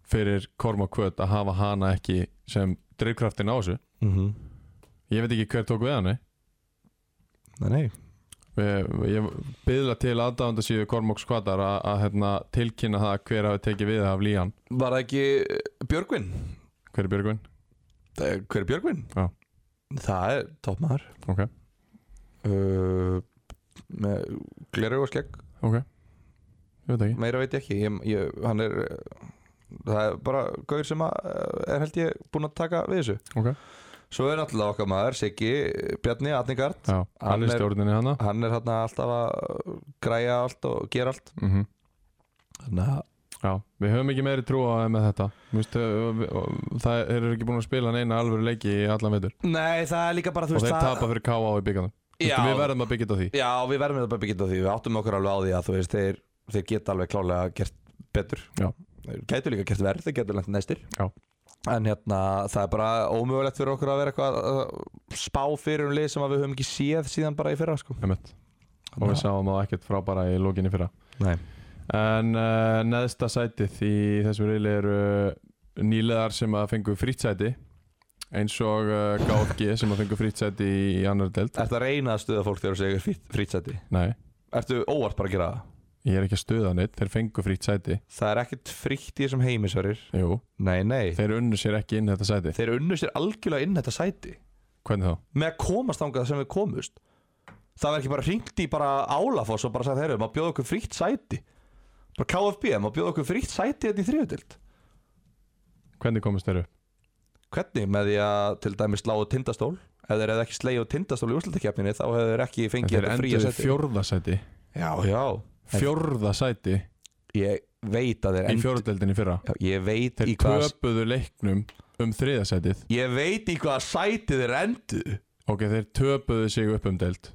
fyrir Korma Kvöt að hafa hana ekki sem dreifkraftin á þessu
mhm.
Ég veit ekki hver tók við hann
Nei, nei.
Ég, ég byðla til aðdáðanda síðu Kormóks Kvatar að, að hérna, tilkynna það hver hafi tekið við af Lían
var það ekki eh, Björgvin
Hver er Björgvin?
Það er- hver er Björgvin?
Já.
það er toppmaður
Ok,
uh, með gleru og skegg
ok Ég veit ekki
meira veit ég ekki ég, ég, hann er uh, það er bara gaur sem að, uh, er held ég búinn að taka við þessu
Ok,
Svo er náttúrulega okkar maður, Siggi Bjarni Atningard
já, hann
Hann
er
er-
stjórninni hana
Hann er hérna alltaf að græja allt og gera allt
mm
Þannig að
Já, við höfum ekki meiri trú á þeim með þetta Vistu, Það þeir eru ekki búin að spila neina alvöru leiki í allan veitur
Nei, það er líka bara, þú
Og
veist
þeir
það...
tapa fyrir K.A. í byggjanum
Já.
Við verðum að byggja þetta á því
Já, við verðum þetta bara byggjum á því Við áttum okkur alveg á því að þú veist Þeir, þeir geta alveg klálega gert betur
Já.
Þeir gætu líka gert verð, þeir gætu lent næstir
Já.
En hérna, það er bara ómögulegt fyrir okkur að vera eitthvað að spá fyrir um lið sem að við höfum ekki séð síðan bara í fyrra sko.
Einmitt. Og við sáum það ekkert frábæra í lókinni fyrra
Nei.
En uh, neðsta sætið í þessu reyli eru nýlegar sem að fengu frýtt sæti eins og uh, GFG sem að fengu frýtt sæti í, í annar delt
Ertu að reyna að stuða fólk þegar þú segir frýtsæti?
Nei,
Ertu óvart bara að gera það?
ég er ekki að stuða neitt, þeir fengu frýtt sæti
Það er ekkert fríkt í þessum heimisverir
Jú,
Nei, nei
þeir unnu sér ekki inn þetta sæti
Þeir unnu sér algjörlega inn þetta sæti
Hvernig þá?
Með að komast þangað sem við komust Það var ekki bara hringt í bara álafoss og bara sagt Þeir eru, maður bjóða okkur fríkt sæti Bara KFB, maður bjóða okkur fríkt sæti þetta í þriðutild
Hvernig komist þeir upp?
Hvernig með því að til dæmis sláðu tindastól Ef þeir hefðu ekki slegið tindastól í úrslutakefninni Þá hefðu þeir ekki fengið
Þeir
þetta fríja
endur
sæti
fjórða sæti
Já, já
Fjórða sæti
Ég veit að þeir
í
end...
fjórðadeldinni fyrra
Já, Ég veit
Þeir
í hvað
töpuðu leiknum um þriða sætið
Ég veit í hvað sæti þeir endu
Ok, þeir töpuðu sig upp um deild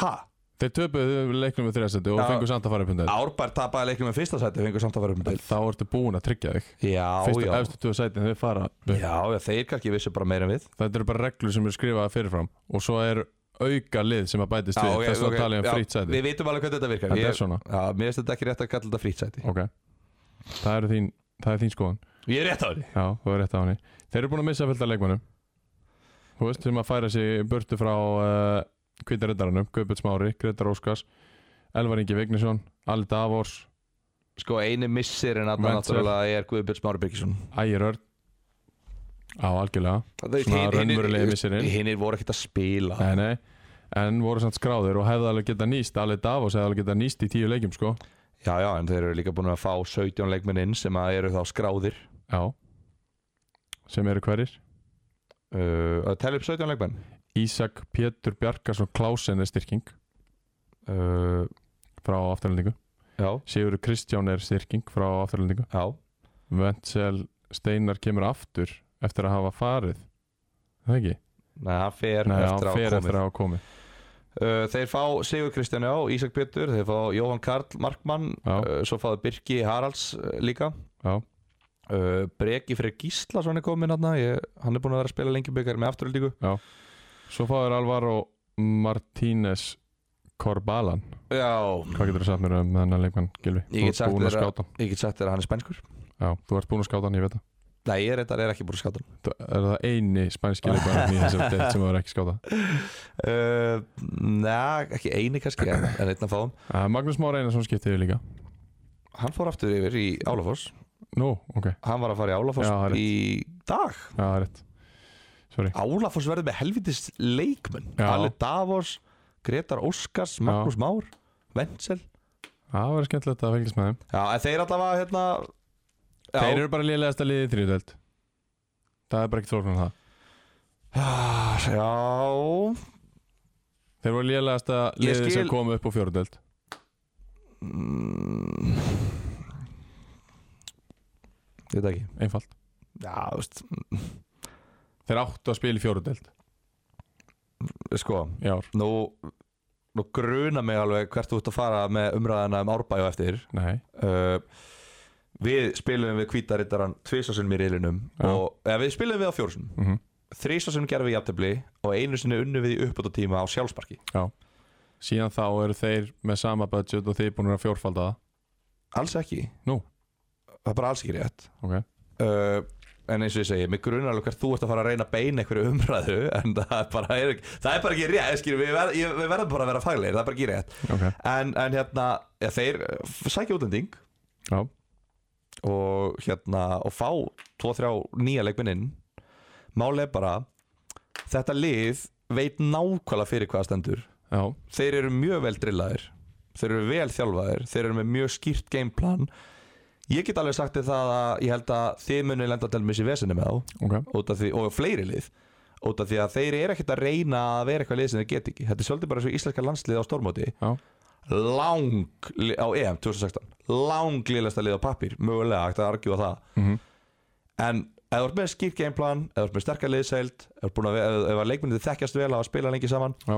Ha?
Þeir töpuðu leiknum um þriða sæti og
Já.
fengu samt að fara upp um deild
Árbær tapaði leiknum með fyrsta sæti og fengur samt að fara upp um deild
Þá ertu búin að tryggja þig
Já,
fyrstu
já.
efstu tvö sætin þau fara upp.
já, já, þeir kannski vissu bara meira en við
þetta eru bara reglur sem eru skrifaða fyrirfram og svo er auka lið sem að bætist við
ok,
þess að
ok,
okay, tala ég um
já,
frýtt sæti
Við vitum alveg hvernig þetta virkar
þetta er
ég,
svona
já, Mér finnst þetta ekki rétt að kalla þetta frýtt sæti
ok það er þín, það er þín skoðan
Ég er rétt á því
já, þú er rétt á henni þeir eru búin að missa fullt af leikmannum þú veist sem að færa sig burtu frá uh, kvindaröndaranum Guðbjörn Smári, Gretar Óskars Elvar Ingi Vignisson, Ali Davors
Sko, eini missirinn að það
Wentzel.
náttúrulega er Guðbjörn Smári Birgisson
Ægir Örn á algjörlega Svona raunverulegi missirinn.
Hinnir voru ekkert að spila
nei, nei en voru samt skráðir og hefði alveg geta nýst Ali Davos hefði alveg geta nýst í tíu leikjum sko
Já, já, en þeir eru líka búin að fá 17 leikmenn inn sem að eru þá skráðir
Já Sem eru hverjir?
uh, að Tell upp 17 leikmenn
Ísak Pétur Bjarkarsson Klásen er styrking
uh,
frá afturlendingu
Já,
Sigurður Kristján er styrking frá afturlendingu
já
Ventsel Steinar kemur aftur eftir að hafa farið Er Það ekki?
Nei, hann fer
Nei, hann
eftir að hafa
fer
komið.
eftir að hafa komið
Uh, þeir fá Sigur Kristjáni á, Ísak Pétur Þeir fá Jóhann Karl Markmann
Já.
uh, Svo fáðu Birki Haralds uh, líka
Já.
uh, Breki fyrir Gísla Svo hann er komin hann Hann er búin að vera að spila lengi byggar með afturöldingu
Svo fáður Alvaro Martínez Korbalan
Já
Hvað getur þú sagt mér um þennan leikmann Gilvi?
Ég get sagt
þér að
þér að-
skáta hann.
Ég get sagt þér að hann er spænskur
Já, þú ert búinn að skáta hann, ég veit það
Nei, ég er, reyndar- er ekki búin að skáta hann
Það er það eini spænski leikmaður í þessari deild sem þú er ekki skáta
*laughs* uh, Nei, ekki eini kannski en, en einn að fáum
uh, Magnús Már Einarsson skipti yfir líka
Hann fór aftur yfir í Álafoss
Nú, ok, já,
Hann var að fara í Álafoss
Já, það er rétt.
í dag
það er rétt Sorry,
Álafoss verður með helvitist leikmenn
Já.
Ali Davos, Gretar Óskars, Magnús Már Wenzel
það verður skemmtilegt að fylgjast með þeim
Já, en þeir allavega hérna já,
Þeir eru bara liðlegasta liðið í þriðdelt Það er bara ekki þróknan það
Já,
Þeir voru liðlegasta
Ég
liðið
skil-
sem kom upp á fjóruðdelt
mm. ég veit það ekki
Einfalt
Já, þú veist,
Þeir áttu að spila í fjóruðdelt
sko
í ár
Nú, nú gruna mig alveg hvert þú ert að fara með umræðana um árbæ og eftir
Nei,
uh, Við spilum við kvítarittarhann tvisasinn í reilinum
Já.
og eða, við spilum við á fjórusunum
mhm,
Þrísasinn gerðum við jafntefli og einu sinni unnu við í uppbúta tíma á sjálfsparki
síðan þá eru þeir með sama budget og þeir búin að fjórfalda
Alls ekki
Nú.
Það er bara alls ekki rétt
það Ok,
uh, En eins og ég segi, mig grunar alveg hvert þú ert að fara að reyna að beina einhverju umræðu *laughs* En það er bara, er, ekki- það er bara ekki rétt skýr, við, ver, ég- við verðum bara að vera faglegir, það er bara ekki rétt
ok,
En, en hérna, ja, þeir eh, sækja útlending
já,
og, hérna, og fá 2-3 nýja leikminn inn Málið er bara, þetta lið veit nákvæmlega fyrir hvað það stendur
já,
þeir eru mjög vel drillaðir þeir eru vel þjálfaðir, þeir eru með mjög skýrt gameplan ég get alveg sagt þér það að ég held að þið muni lenda til missi vesinni með þá
ok
út af því, og fleiri lið út af því að þeir eru ekkert að reyna að vera eitthvað lið sem þeir get ekki þetta er svolítið bara svo íslenska landslið á stormóti
Já.
lang li- á EM 2016 lang liðlasta lið á pappir mögulega hægt að argjúa það
mhm,
en ef þú ert með skýrt gameplan ef þú ert með sterkar liðseild ef, þú ert búinn að- ef, ef að leikmennið þekkjast vel að spila lengi saman
Já.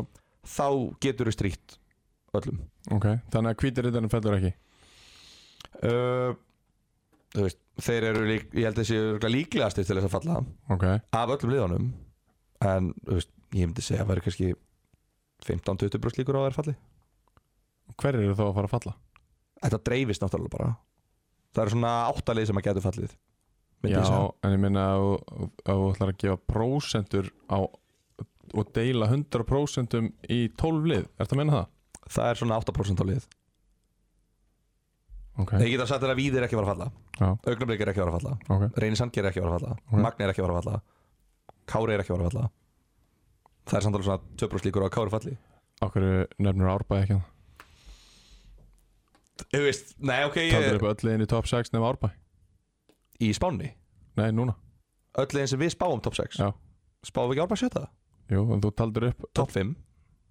þá getur þú strýtt öllum
Ok, þannig að hvítir rittarinn fellur ekki
uh, þú veist, þeir eru lík, ég held að þessi eru líklegastir til þess að falla
Ok,
af öllum liðanum en þú veist, ég myndi segja að það væri kannski 15-20 brúst líkur á að vera falli
hver eru þá að fara að falla?
þetta dreifist náttúrulega bara það eru svona áttalið sem að getur fallið myndi
Já,
ég segja.
en ég minna að þú- að þú ætlar að gefa prósentur á og deila 100% í 12 lið, ertu að meina það?
það er svona 8% á lið
Ok,
þeir geta sagt þér að víðir er ekki að fara að
Já.
falla augnablik er ekki að fara að falla
ok,
Reyni Sandger er ekki að fara að falla
Ok.
Magni er ekki að fara að falla Kári er ekki að fara að falla það er samt alveg svona 2% líkur á að Kári falli
okkur nefnir árbæði ekki það
Þú veist, nei ok
Taldur
ég,
upp öll liðin í top 6 nefn árbæ
í Spáni
Nei, núna,
öll leginn sem við spáum top 6
Já.
spáum við ekki árbæk sjötta?
jú, en þú taldur upp öll,
top 5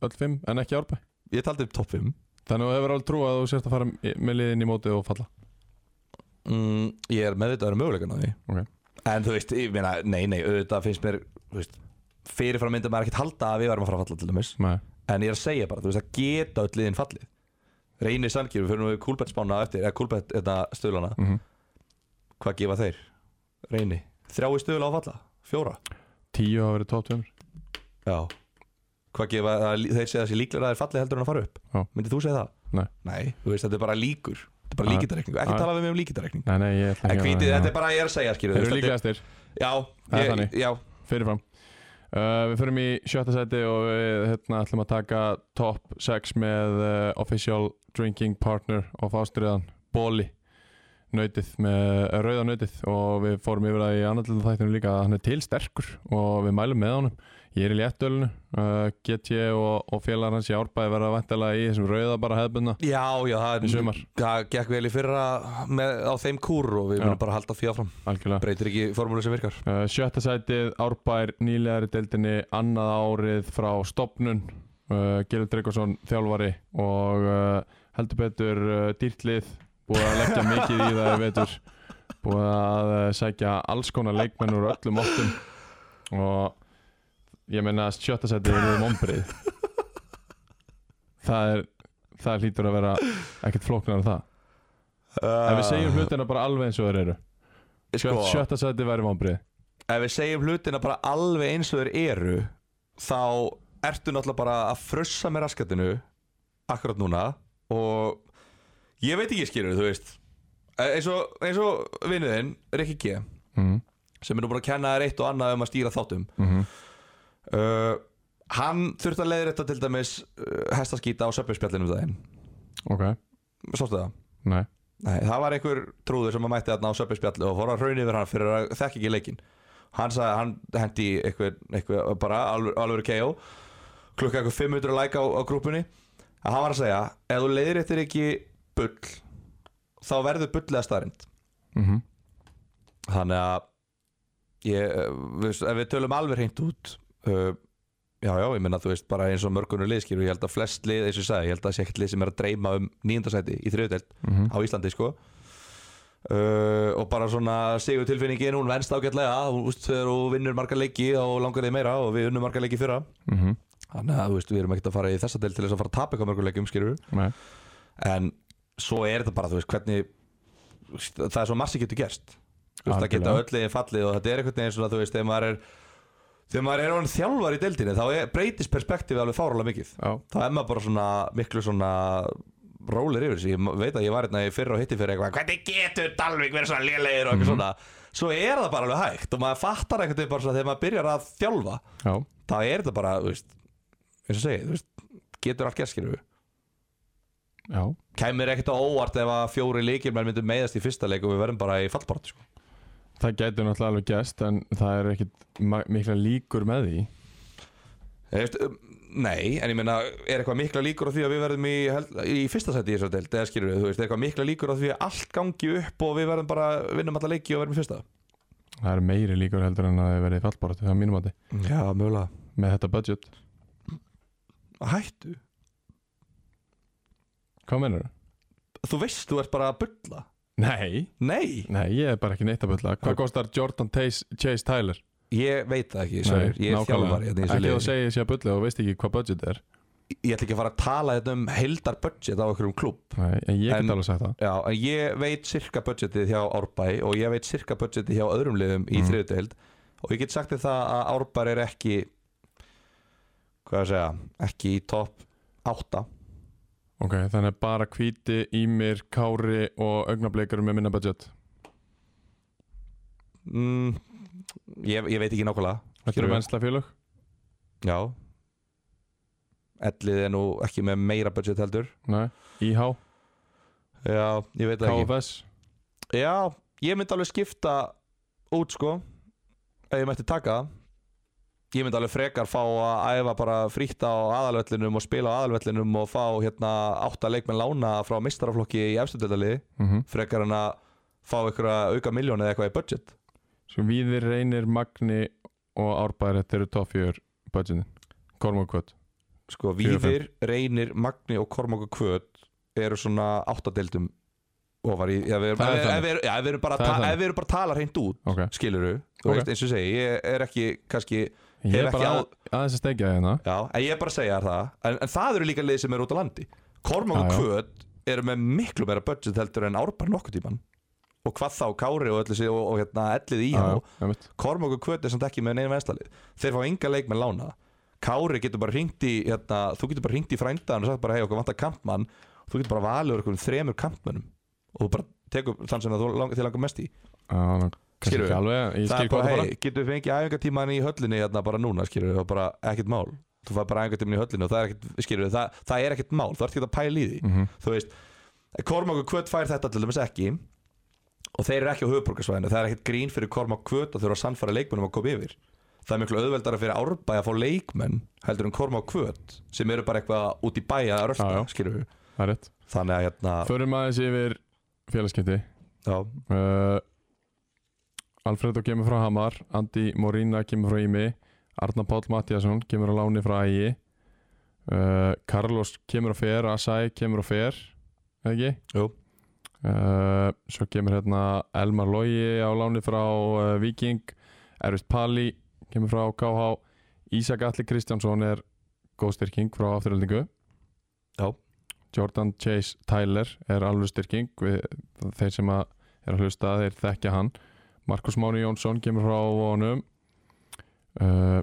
öll 5 en ekki árbæ
ég taldi upp top 5
Þannig að þú hefur alveg trú að þú sért að fara í- með liðin í mótið og falla
mm, ég er meðvitaður um möguleikana því
Ok.
en þú veist, ég meina, nei, nei, auðvitað finnst mér þú veist, fyrirfram myndi maður ekkert halda að við værum að fara að falla til dæmis
Nei,
en ég er að segja bara, þú veist, það geta öll liðin fallið Reyni Sandgjur, við fyrir nú við Kúlbett spána á eftir eða Kúlbett, þetta stöðlana
mhm
hvað gefa þeir? Reyni, þrjá í stöðla á falla, fjóra
Tíu hafa verið top 2
Já Hvað gefa, að- þeir segja þessi líklega að þeir falli heldur en að fara upp
Já.
Myndið þú segja það?
Nei.
þú veist þetta er bara líkur Þetta er bara
Já.
líkindareikning, ekki
Já.
tala við mig um líkindareikning
Nei, nei, ég ætla
En
ekki
hvítið,
já.
þetta er bara ég er að segja skýrðu
um Þeir eru líklegastir
Já,
Það er
ég,
þannig.
já,
fyrirfram uh, Við förum í sjötta seti og við hérna, ætlum að taka top 6 með uh, official drinking partner of Ástriðan, Bóli nautið með uh, rauða nautið og við fórum yfir það í annaðlega þættinu líka að hann er tilsterkur og við mælum með honum ég er í léttölinu, uh, get ég og, og félagar hans í árbæði verða væntalega í þessum rauða bara hefðbunna
já, já það,
í
er,
sumar,
það gekk vel í fyrra með, á þeim kúr og við
Já.
munum bara halda því áfram
algjörlega
Breytir ekki formúlu sem virkar
Uh, sjötta sætið Árbær nýlegaðri deildinni annað árið frá stopnun uh, Gilur Tryggvason þjálfari og uh, heldur betur uh, dýrtlið búið að leggja mikið í það í vetur búið að uh, sækja alls konar leikmenn úr öllum óttum og ég meina að sjötta sætið er um ombrið það er það hlýtur að vera ekkert flóknar en það ef við segjum hlutina bara alveg eins og þeir eru
sko,
Sjötta- sjötta sætið væri vombrið
Ef við segjum hlutina bara alveg eins og þeir eru Þá ertu náttúrulega bara að frussa með raskatinu Akkurat núna Og ég veit ekki skýrðu, þú veist Eh, eins og, eins og vinnuðinn, Rikki G
Mhm.
sem er nú búin að kenna þér eitt og annað um að stýra þáttum
Mhm.
uh, hann þurfti að leiðrétta til dæmis uh, hestaskýta á söpjusspjallinum daginn
Ok,
sástu það?
nei
Nei, það var einhver trúður sem að mætti þarna á söpjusspjalli og fór að raun yfir hann fyrir að þekki ekki leikin hann sagði, hann hendi í einhver, einhver bara alveg, alveg KO klukka einhver 500 like á, á grúpunni að hann var að segja, ef þú leiðréttir ekki bull þá verður bull eða staðrind
Mhm.
þannig að ég, eh, við, ef við tölum alveg hreint út uh, já, já, ég minna þú veist bara eins og mörgunur liðskir og ég held að flest lið, eins og ég sagði, ég held að sé ekkert lið sem er að dreyma um nýjöndasæti í þriðutelt
Mhm.
á Íslandi, sko Uh, og bara svona sigur tilfinningin hún venst ágætlega, þú veist þegar þú vinnur marga leiki og langar þig meira og við unnum marga leiki fyrra,
Mhm.
þannig að þú veist við erum ekkert að fara í þessa del til þess að fara að tapa eitthvað mörgum leikum skilur
Nei.
en svo er þetta bara, þú veist, hvernig þú veist, það er svo massi getur gerst Þú veist, það geta
Algjörlega.
öll eða fallið og þetta er einhvern veginn svona, þú veist, þegar maður er þegar maður er orðin þjálfar í deildinni þá er, breytist perspektífi alveg fárálega mikið
Já,
þá er maður bara svona miklu svona rólir yfir sig, ég veit að ég var hérna í fyrra og hitti fyrir eitthvað, hvernig getur Dalvik verið svona lélegir og eitthvað svona svo er það bara alveg hægt og maður fattar einhvern veginn bara svona þegar maður byrjar að þjálfa
já,
þá er þetta bara, þú veist eins og segið, þú veist, getur allt gerskirfu
já
kæmur ekkert á óvart ef að fjóri leikir menn myndum meiðast í fyrsta leik og við verðum bara í fallbart sko.
Það gæti náttúrulega alveg gæst en það er ekkit ma- mikla líkur með því
Efst, um, nei, en ég meina er eitthvað mikla líkur á því að við verðum í, held, í fyrsta seti í þessu deild, eða skilur við, þú veist, er eitthvað mikla líkur á því að allt gangi upp og við verðum bara, vinnum alla leiki og verðum í fyrsta
Það er meiri líkur heldur en að það verði fallbárat það er mínum að þið
Já, mögulega
með þetta budget
Hættu,
Hvað mennur það?
þú veist, þú ert bara að bulla
Nei,
Nei,
nei, ég er bara ekki neitt að bulla Hvað kostar Jordan Tays, Chase Tyler?
ég veit það ekki, sorry, ég er þjálfari hérna í þessu
Ekki
liði.
þú segir sé að bulla og veist ekki hvað budget er
Ég ætla ekki að fara að tala hérna um heldar budget á einhverjum klubb
Nei, en ég
En-
get alveg sagt það
Já, en ég veit cirka budgetið hjá Árbæ og ég veit cirka budgetið hjá öðrum liðum í
Mm.
þriðuteild og ég get sagt þér það að Árbæ er ekki hvað að segja, ekki í topp 8
Ok, þannig að bara hvíti, ímir, kári og augnablikar með minna budget
mm, ég, ég veit ekki nákvæmlega
Þetta eru vennsla félög
Já Ellið er nú ekki með meira budget heldur
Nei, IH,
Já, ég veit það ekki
KFS
Já, ég myndi alveg skipta út sko ef ég mætti taka það ég myndi alveg frekar fá að æfa bara frítt á aðalvöllinum og spila á aðalvöllinum og fá hérna átta leikmenn lána frá mistaraflokki í efstundöldaliði
Mhm.
frekar en að fá einhverja auka miljón eða eitthvað í budget
Svo Víðir, Reynir, Magni og Árbæri Þetta eru topp fjör budgetin Kormakvöt
sko
Fjögur, fimm.
Víðir, Reynir, Magni og Kormák og Kvöt eru svona áttadeildum ofar í já, við erum,
Það er
ef,
þannig.
ef, við erum- já, ef við erum bara að
Það er
ta-
þannig.
ef við erum bara að tala hreint út
Ok,
skilur þú,
Ok.
veist eins og ég segi ég er ekki kannski
ég
Hef
er
ekki
bara
á-
aðeins að stegja hérna
Já, en ég er bara að segja þér það en, en það eru líka liðið sem eru út á landi Kormák
Já,
og
já.
Kvöt eru með miklu meira budget heldur en árbar nokkuð tíman og hvað þá Kári og, öllu sig, og, og hérna, ellið í hann
einmitt.
Kormák og Kvöt er samt ekki með neina venstalið þeir fá enga leikmenn lána Kári getur bara hringt í hérna, þú getur bara hringt í frændan og sagt bara hei okkur vantar kampmann og þú getur bara valið úr einhverjum þremur kampmönnum og þú bara tekur þann sem þú lang, þið langar mest í
Já, nú, kannski
Skilurðu?
ekki alveg, ég
það
skil
er
hvað
bara,
það bara
hei, getur við fengið æfingatíman í höllinni hérna bara núna, skilur við, og bara ekkert mál þú fær bara æfingatíman í höllinni og það er ekkert skilur við, það, það er ekkert mál, þú ert ekki að pæla í því
Mhm.
þú veist, Kormáku Kvöt fær þetta til dæmis ekki og þeir eru ekki á höfuborgarsvæðinu, það er ekkert grín fyrir Kormáku Kvöt að þurfa að sannfæra leikmennum að koma yfir það er miklu auðveldara fyrir árbæ að fá leikmenn heldur en Kormáku Kvöt sem eru bara eitthvað út í bæja að
Já, já.
rölda, skilur við
Það er rétt
þannig að hérna,
Förum aðeins yfir félagskipti
já,
uh, Alfredo kemur frá Hamar Andi Morína kemur frá Ími Arna Páll Mattiasson kemur á láni frá Ægi uh, Carlos kemur á fer Asai kemur á fer eða ekki?
Jú.
Uh, svo kemur hérna Elmar Logi á láni frá uh, Viking Erfist Pali kemur frá KH Ísak Atli Kristjánsson er góð styrking frá afturöldingu
Já.
Jordan Chase Tyler er alveg styrking við, þeir sem að er að hlusta þeir þekkja hann Markus Máni Jónsson kemur frá vonum uh,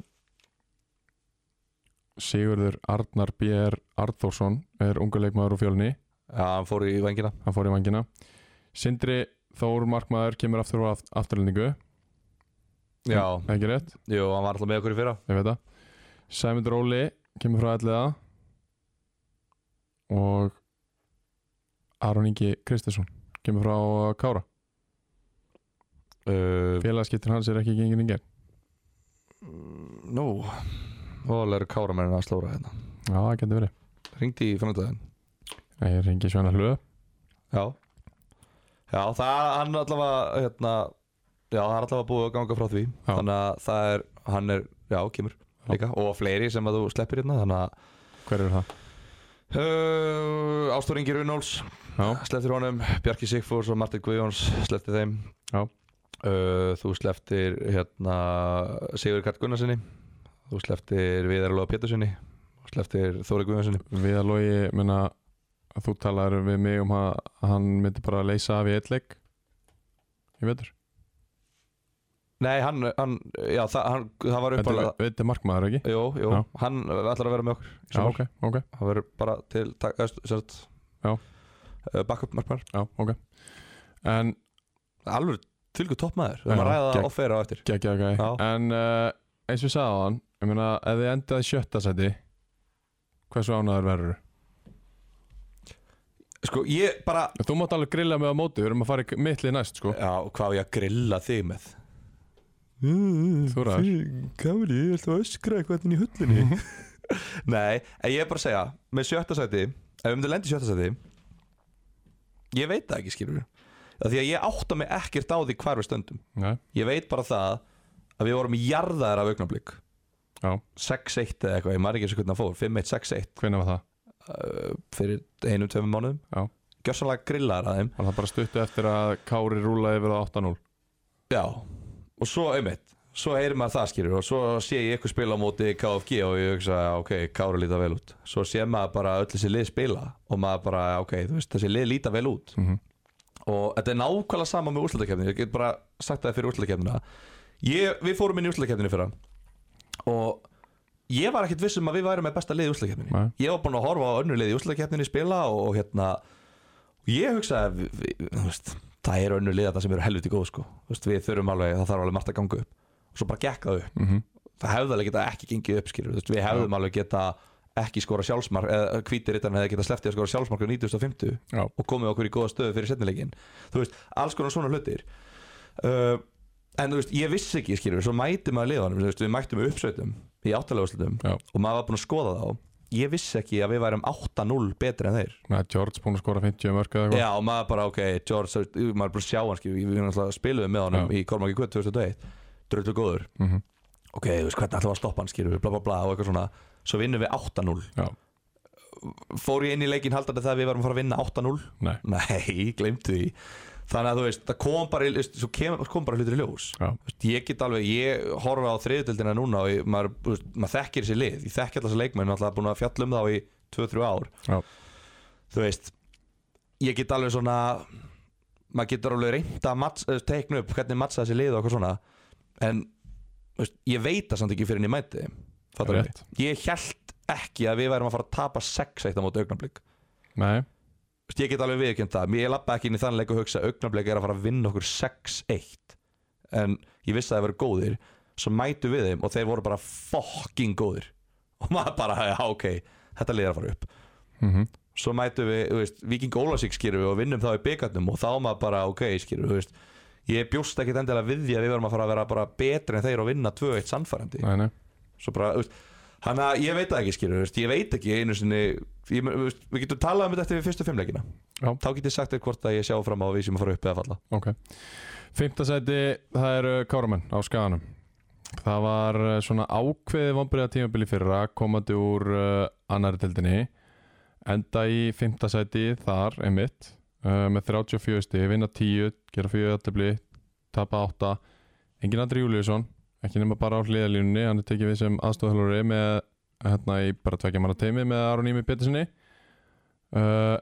Sigurður Arnar B.R. Arþórsson er unga leikmaður úr fjölni
já, hann fór í vengina
hann fór í vangina Sindri Þór Markmaður kemur aftur á aft- afturlendingu
Já,
Ekki rétt,
jú, hann var alltaf með okkur í fyrra
ég veit það Sæmundur Óli kemur frá allega Og Aron Ingi Kristesson kemur frá uh, Kára
uh,
Félagskiptin hans er ekki gengin ingen
Nú Ólega eru káramennin að slóra hérna
Já, það getur verið
Ringdi í framöndaginn
Nei, ég ringi Svenna Hlöð
Já Já, það hann allavega hérna, Já, það er allavega búið að ganga frá því
Já.
Þannig að það er, hann er, já, kemur
Já.
líka Og fleiri sem að þú sleppir hérna Þannig að
Hver er það?
Uh, Ástór Ingi Runóls
Já,
Sleftir honum, Bjarki Sigfús og Martin Guðjóns Sleftir þeim
Já.
uh, Þú sleftir hérna, Sigur Karl Gunnarsinni Þú sleftir Viðar Lóa Pétursinni Þú sleftir Þóri Guðjónsinni
við að logi menna, Þú talar við mig um að að hann myndi bara að leysa af í eitt leik Ég veitur
Nei, hann, hann, já, það, hann, það var
Þetta
uppalega
er- þetta er markmaður ekki?
Jú, jú,
Já.
hann ætlar að vera með okkur í
Já,
sumar.
ok, ok
Hann verður bara til tak, öst, sérst,
Já.
uh, Backup markmann
Já, ok En
Alveg tilguð toppmaður Við
Já,
erum að ræða
gegn-
það offer á eftir
Gekkja,
Já.
ok En uh, eins og ég sagði á hann Ég meina, ef þið endaði sjötta seti Hversu ánæður verður?
Sko, ég bara
Þú mátt alveg grilla mig á móti Við erum að fara í mittli næst, sko
Já, hvað á ég að grilla þig með?
Þú ræður.
Káli, Mm, ég ætla að öskra eitthvað inn í hullinni *laughs* Nei, en ég er bara að segja Með sjötta sæti, ef við myndum lendi sjötta sæti Ég veit það ekki, skilur við Því að ég átta mig ekkert á því hvar við stöndum
Nei,
Ég veit bara það að við vorum jarðaðar af augnablík
já,
6-1 eða eitthvað, ég maður ekki eins og hvernig það fór 5-1, 6-1
hvenær var það?
uh, fyrir einum, tveimum mánuðum
Já.
Gjörsanlega grillaðar að þeim
Var það bara stuttu eftir að Kári rúlaði yfir á 8-0
Já, og svo einmitt Svo heyrir maður það skilur og svo sé ég ykkur spila á móti KFG og ég hugsa já, ok, Kári líta vel út Svo sé maður bara öll þessi lið spila og maður bara, já, ok, þú veist, þessi lið líta vel út
Mhm.
Og þetta er nákvæmlega sama með úrslutakefninu, ég get bara sagt það fyrir úrslutakefnina ég, Við fórum inn í úrslutakefninu fyrra Og ég var ekkert viss um að við værum með besta lið í úrslutakefninu
Nei.
Ég var búin að horfa á önnur lið í úrslutakefninu spila og hérna Ég hugsaði að vi- vi- þú veist, það eru önnur liða það sem eru helviti góð sko. Þú veist, við þurfum alveg, það þarf alveg margt að ganga upp og svo bara gekk það upp
mm -hmm.
það hefði alveg geta ekki gengið upp skilur veist, við hefðum alveg geta ekki skora sjálfsmark eða hvítir rittan hefði geta sleftið að skora sjálfsmark á 9050
Já.
og komið okkur í góða stöðu fyrir setnilegin þú veist, alls konar svona hlutir uh, en þú veist, ég vissi ekki skilur svo mæti maður liðanum, þú veist, við mættum uppsveitum í áttalega úrslutum
Já.
og maður var búinn að skoða þá ég vissi ekki að við værum 8-0 betri en þeir
Nei, George búinn að skora 50 mörg eða eitthvað
Já, og maður bara, ok, George, þú veist, maður er bara að sjá hann, skilur, við við náttúrulega spiluðum með honum í Kormaki Kvöt 2001, dröldu góður,
Mhm.
ok, þú veist, hvernig ætlum við að stoppa hann, skilur við, bla bla bla og eitthvað svona, svo vinnum við 8-0,
Já,
fór ég inn í leikinn haldandi það að við varum að fara að vinna 8-0,
nei,
*laughs* nei, glemt því, þannig að þú veist, það kom bara, í- þú veist, svo kem, kom bara hlutur í ljós,
já,
Þú veist, ég get alveg, ég horfa á þriðutöldina núna og ég, maður, þú veist, maður þekkir þessi lið, ég þekki alltaf þessi leikmenn, alltaf búin að fjalla um þá í 2-3 ár
Já.
þú veist ég get alveg svona maður getur alveg reynda að mats, eh, teikna upp hvernig matsa þessi lið og eitthvað svona en þú veist, ég veit það samt ekki fyrir en ég mæti þeim Fattarðu mig?
rétt
ég held ekki að við værum að fara að tapa 6-1 á móti augnablík
Nei,
Vist, ég get alveg viðkjönd það, ég lappa ekki inn í þann leik og hugsa að augnablik er að fara að vinna okkur 6-1 en ég vissi að það verið góðir svo mætu við þeim og þeir voru bara fucking góðir og maður bara, já ok, þetta liðir að fara upp
mm
svo mætu við, þú veist, Viking Ólasík skýrur við og vinnum þá í byggarnum og þá maður bara, ok, skýrur, þú veist ég bjóst ekkit endilega við því að við varum að fara að vera bara betri en þeir og vinna 2-1 sannfærandi
nei, nei
svo bara, þú veist Þannig að ég veit það ekki skilur, þú veist, ég veit ekki einu sinni, ég, þú veist, við getum talað um þetta eftir við fyrstu fimmleikina
Já.
Þá get ég sagt þér hvort að ég sjá fram á að við sem að fara upp eða falla
Ok. Fymta sæti, það eru Káramenn á skaganum. Það var eh, svona ákveðið vonbreiða tímabili fyrra, komandi úr uh, annari tildinni. Enda í fymta sæti þar, einmitt, uh, með 34 stið, vinna 10, gera 4 aðtöfli, tapa 8. Engin Andri Júliusson, ekki nema bara á hliðalínunni, hann er tekið við sem aðstofhjálfari með, hérna í bara tvekja manna teimi með Aron Ími Pétursinni. Uh,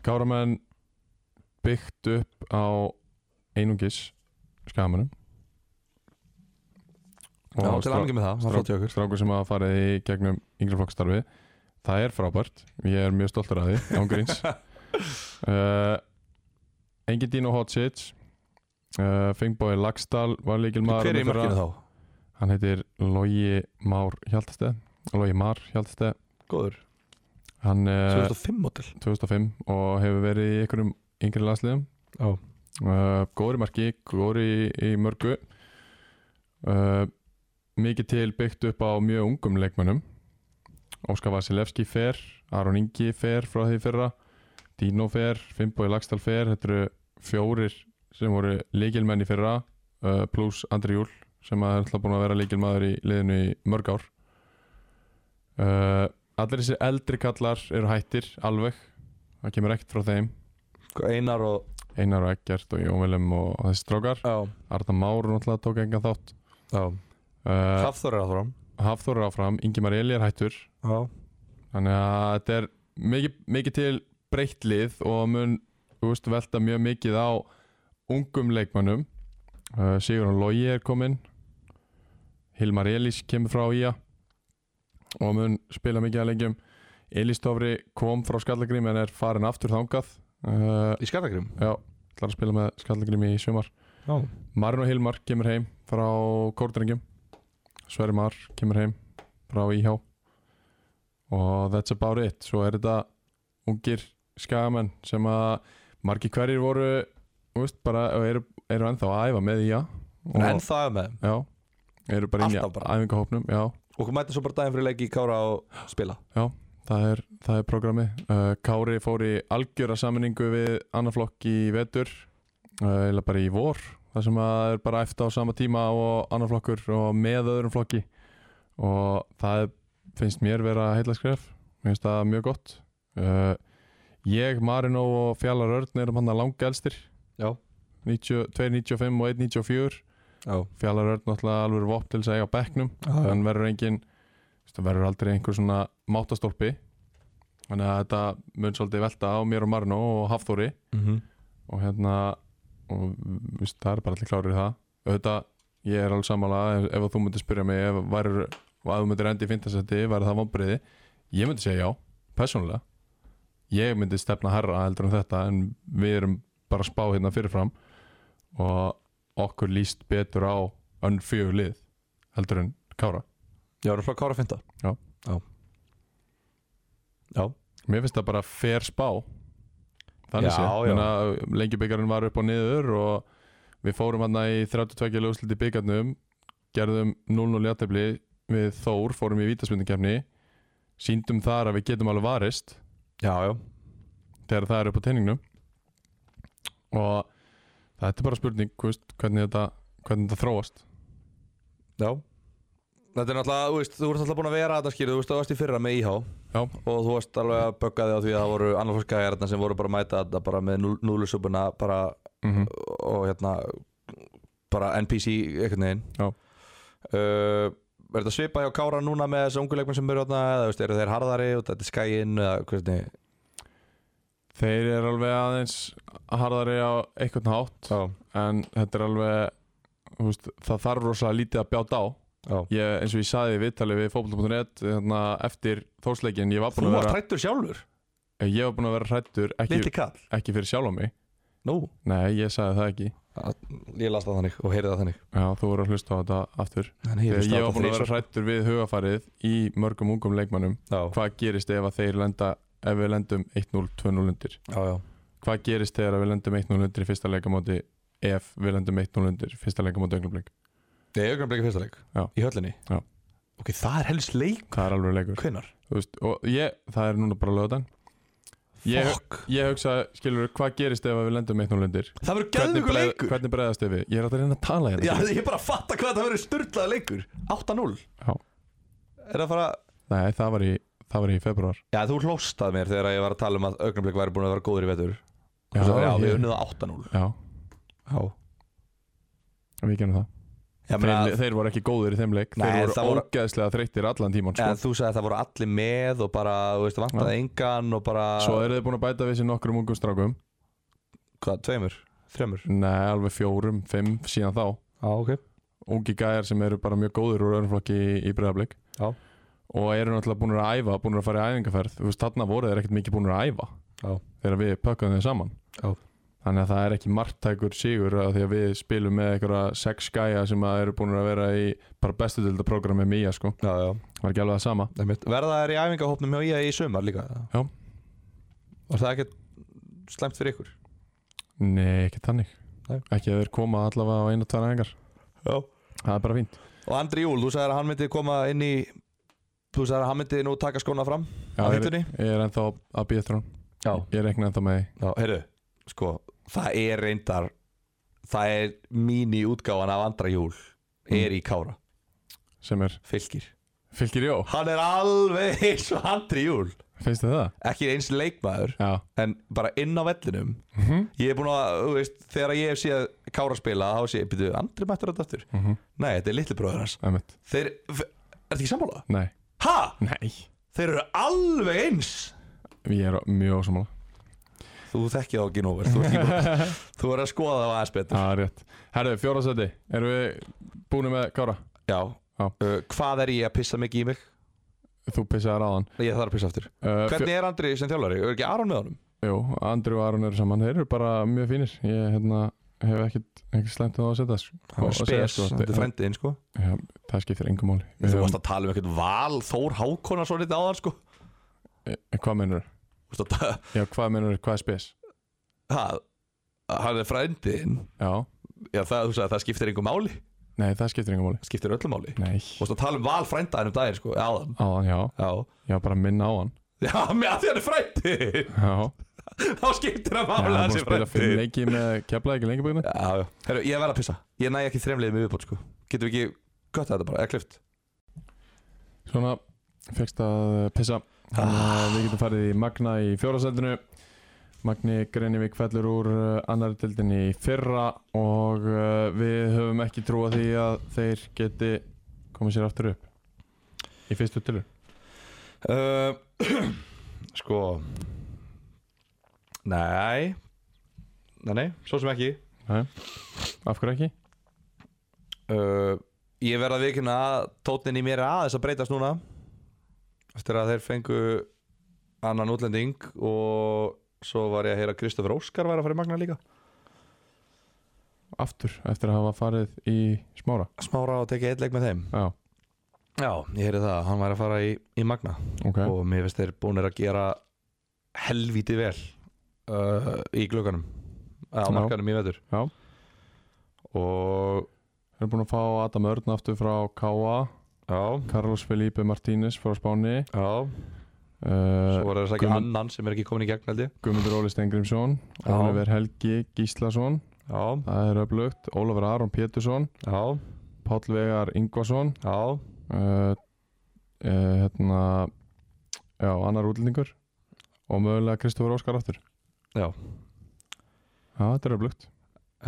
Káramenn byggt upp á einungis skamunum
Já, til aðmengi með það, það
strák-
flott hjá okkur
strákur sem hafa farið í gegnum yngri flokksstarfi
*laughs*
það er frábært, ég er mjög stoltur að því án gríns uh, Engin Eh, Dino Hotsic uh, Fingboy Lagsdal var líkil maður
Hver er í markinu þá?
Hann heitir Logi Már Hjaltsteð Logi Már Hjaltsteð
Góður Eh,
Hann eh, er
2005 model
2005 og hefur verið í einhverjum yngri landsliðum
Já.
uh, Góður í marki, góður í, í mörgu uh, Mikið til byggt upp á mjög ungum leikmönnum Óskar Vasilevski fer Aron Ingi fer frá því fyrra Dino fer, Finnbói Lagstall fer Þetta eru fjórir sem voru leikilmenn í fyrra uh, pluss Andri Júl sem að er alltaf búin að vera leikilmaður í liðinu í mörg ár uh, Allir þessi eldri kallar eru hættir alveg það kemur ekkert frá þeim
sko, Einar og
Einar og Eggert og Jón Vilhelm og, og þessi strókar
Já,
Arna Már náttúrulega tók enga þátt
já.
uh,
Hafþór er áfram
Hafþór er áfram, Ingimar Eli er hættur
Já
þannig að þetta er mikið, mikið til breytt lið og mun þú veist, velta mjög mikið á ungum leikmönnum uh, Sigurðan Logi er kominn Hilmar Elís kemur frá IA og mun spila mikið að lengjum Elís Tófri kom frá Skallagrím en er farin aftur þangað uh,
Í Skarnagrim
já, ætlar að spila með Skallagrím í sumar
Já
Marino Hilmar kemur heim frá Kórdrengjum Sverri Mar kemur heim frá IH og that's about it svo er þetta ungir skagamenn sem að margir hverjir voru þú veist, bara, og eru, eru ennþá að æfa með IH og,
En það er með þeim.
já, eru bara inn í
Alltaf bara.
æfingahópnum já,
Okkur mætti svo bara daginn fyrir leiki í Kára og spila
það er, það er programmi uh, Kári fór í algjöra sammenningu við annar flokk í vetur uh, eða bara í vor það sem að er bara eftir á sama tíma og annar flokkur og með öðrum flokki og það er, finnst mér vera heila skref, mér finnst það mjög gott uh, ég, Marino og Fjallar Örn erum hann að langa elstir
Já.
90, 2.95 og 1.94
Já
Fjallar Örn náttúrulega alveg vopn til þess að eiga á bekknum
Já.
hann verður engin það verður aldrei einhver svona mátastólpi þannig að þetta mun svolítið velta á mér og Marno og Hafþóri
Mhm.
og hérna og viðst, það er bara allir klárið það auðvitað, ég er alveg sammála ef, ef þú myndir spyrja mig ef, var, ef þú myndir endi í fintasetti, væri það vonbriði ég myndi segja já, persónulega ég myndi stefna herra heldur en þetta en við erum bara að spá hérna fyrirfram og okkur líst betur á önn fjögur lið heldur en kára
Já, erum frá Kára að finna
Já.
Já Já
Mér finnst það bara fair spá Þannig
Já,
sé
já.
Menna, Lengjubikarinn var upp og niður og við fórum hann í 32 lögslit í byggarnum gerðum 0-0 játefli við Þór, fórum í vítaspundingkefni síndum þar að við getum alveg varist
Já, já
þegar það er upp á teiningnum og þetta er bara spurning þú veist, hvernig, þetta, hvernig þetta þróast
Já Þetta er náttúrulega, þú veist, þú ert alltaf búin að vera að þetta skýrðu, þú veist, þú varst í fyrra með IH
Já.
og þú varst alveg að bögga þig á því að það voru annarfólkskæðarna sem voru bara að mæta þetta bara með núl- núlusúpuna bara
mm
og hérna bara NPC einhvern veginn
Já.
uh, Er þetta svipa hjá Kára núna með þessu ungu leikmenn sem eru þarna eða þú veist, eru þeir harðari og þetta er skæinn eða hvernig
Þeir eru alveg aðeins harðari á einhvern hátt
Já,
en þetta er alveg þú veist, það þarf rosalega lítið að bjáta á
já
ég, eins og ég saði í viðtali við fótboll.net hérna, eftir þórsleikin ég var
Þú
búin að
var
vera,
trættur sjálfur,
ég var búin að vera hrættur
litli
ekki,
kall
ekki fyrir sjálf á mig
Nú,
nei, ég sagði það ekki
ég las það þannig og heyrði það þannig
Já, þú voru að hlusta á þetta aftur
Þannig
ég, ég
hlustaði á
var búin að
þetta
vera hrættur við hugafarið í mörgum ungum leikmannum
þrisvar.
hvað gerist ef, að þeir lenda, ef við lendum 1-0, 2-0 undir
Já, já, já
hvað gerist þegar við lendum 1-0 undir í fyrsta leikamóti ef við lendum 1-0 undir í fyrsta leikamóti önglumblik
Nei, augnablik í fyrsta leik
Já.
Í höllinni
Já.
Ok, það er helst leik
það er alveg leikur
Hvenær?
Þú veist, og ég, það er núna bara lögðan Ég-
Fuck
ég hugsa, skilur, hvað gerist ef að við lendum 1-0 undir
Það verður
hvernig,
geðvíkur leikur
hvernig bregðast ef við? Ég er alltaf að reyna að tala
Já,
hérna
ég er bara að fatta hvað það verður styrlaða leikur 8-0
Já.
Er það fara
Nei, það var í, það var í februar
Já, þú hlóstað mér þegar ég var að tala um að augnablik væri búin að vera góður í vetur
Já,
Já, já, já við
ég-
unnið á 8-0
Já,
Já
við genum það
Ég meina
þeir, þeir voru ekki góðir í þeim leik
Nei,
Þeir
það
voru
voru-
ógeðslega þreyttir allan tíman
En
sko.
þú sagði að það voru allir með og bara, þú veist, vantaði engan og bara
Svo eru þeir búin að bæta við sér nokkrum ungum strákum
Hvað, tveimur? Þremur?
Nei, alveg fjórum, fimm síðan þá
Já, ok
Ungi gæjar sem eru bara mjög góðir úr öðrumflokki í, í bregðarblik
Já.
Og eru náttúrulega búin að æfa, búin að fara í æfingarferð Þú veist, þarna voru þeir ekkert mikið búin að æfa
Já.
Þegar við pökkum þeir saman
Já.
Þannig Þannig að það er ekki margtækur sigur að því að við spilum með einhverja sex gæja sem að eru búin að vera í bara bestu dildaprogrammi mía sko.
já, já,
Það var ekki alveg það sama.
einmitt. verða þær í æfingahópnum hjá ég í sumar líka
Já.
var það ekkert slæmt fyrir ykkur
Nei, ekki þannig.
Nei.
Ekki að þeir koma allavega á einu og tvær engar.
já.
Það er bara fínt.
og Andri Júl, þú sagðir að hann myndi koma inn í þú sagðir að hann myndi nú taka skóna fram
Já,
Á
ég, er-
hittunni?
ég er ennþá að býja eftir hún.
já,
Ég er ekki ennþá með því.
já heyrðu, sko það er reyndar það er mini útgáfan af Andra Júl er í Kára,
sem er
fylgir
fylgir jó.
hann er alveg eins og Andri Júl
Finnst þið það?
ekki eins leikmaður
Já.
en bara inn á vellinum
Mhm.
ég er búin að, þú veist, þegar E ég hef séð Kára spila, þá sé ég, byrju, Andri mættur þetta aftur
Mhm.
nei, þetta er litli bróður hans
Æmitt.
þeir, er þetta ekki sammála?
Nei.
ha?
Nei.
þeir eru alveg eins
Ég er mjög ósamála.
þú þekkið þá ekki nóver þú, ert ekki
*laughs*
búin- þú er að skoða það aðeins betur
Það er rétt. Herru, fjórasöndi. Erum við búinu með Kára?
já,
Já.
Uh, hvað er ég að pissa mikið í mig?
Þú pissaði ráðan.
ég þarf að pissa aftur
Uh,
hvernig er Andri sem þjálfari? er ekki Aron með honum?
Jú, Andri og Aron eru saman, þeir eru bara mjög fínir Ég hérna, hef ekkert ekki slemt á það að setja sko. Og- og segja,
spes,
sko,
þetta er frendiðin sko
Já, Það skiptir engum máli Við
þú
höfum-
varst að tala um eitthvað val Þór Hákonar svo lítið áðan sko
Eh, Hvað mennur?
Þú varst að ta- *laughs*
Já, hvað mennur, hvað er spes?
Ha, hann er frendiðin
Já,
Já, það, þú sagði að það skiptir einhver máli
nei, það skiptir engum máli
Það skiptir öllu máli Þú
Nei,
veist að tala um val frændaðin um daginn, sko, áðan
áðan, já
Já *laughs*
Já, bara minna á hann
Já, með að því hann er frændi
Já,
Þá skiptir hann
já
máli
hann er búin
að hann
að
sé
spila
frændi
fimm leiki með keflaði ekki lengi búinu
Já, já Herru, ég verð að pissa Ég næ ekki þremliðið með viðbót, sko Getum við ekki Götta þetta bara, eða klift
Svona, fegst að eh, pissa Þannig
Ah.
að Við getum farið í Magna í fjórasældinu Magni Greinivík fellur úr eh, annarri dildin í fyrra og eh, við höfum ekki trúa því að þeir geti komið sér aftur upp í fyrstu tilur
uh, *clears throat* Sko Nei Nei, nei, svo sem ekki
Af hverju ekki?
uh, Ég verð að vikina að tótnin í mér er aðeins að breytast núna eftir að þeir fengu annan útlending og svo var ég að heyra að Kristoffer Óskar var að fara í Magna líka
Aftur eftir að hafa farið í smára
Smára og tekið eitt leik með þeim
Já,
Já, ég heyri það, hann var að fara í, í Magna
ok
og mér finnst þeir búinir að gera helvítið vel uh, í glögganum á
Já.
markanum í vetur
Já.
og
Við erum búin að fá Adam Örn aftur frá K.A.
já,
Carlos Felipe Martínez frá Spáni
já
uh,
svo voru þess ekki
Guðmund-
annan sem er ekki komin í gegn held ég
Guðmundur Óli Stengrimsson
Já.
Oliver Helgi Gíslason
Já,
Það er öflugt Ólafur Aron Pétursson
já,
Páll Vegar Ingvarsson
já
uh, uh, hérna já, annar útlendingur og mögulega Kristofur Óskar aftur
Já.
Já, þetta er öflugt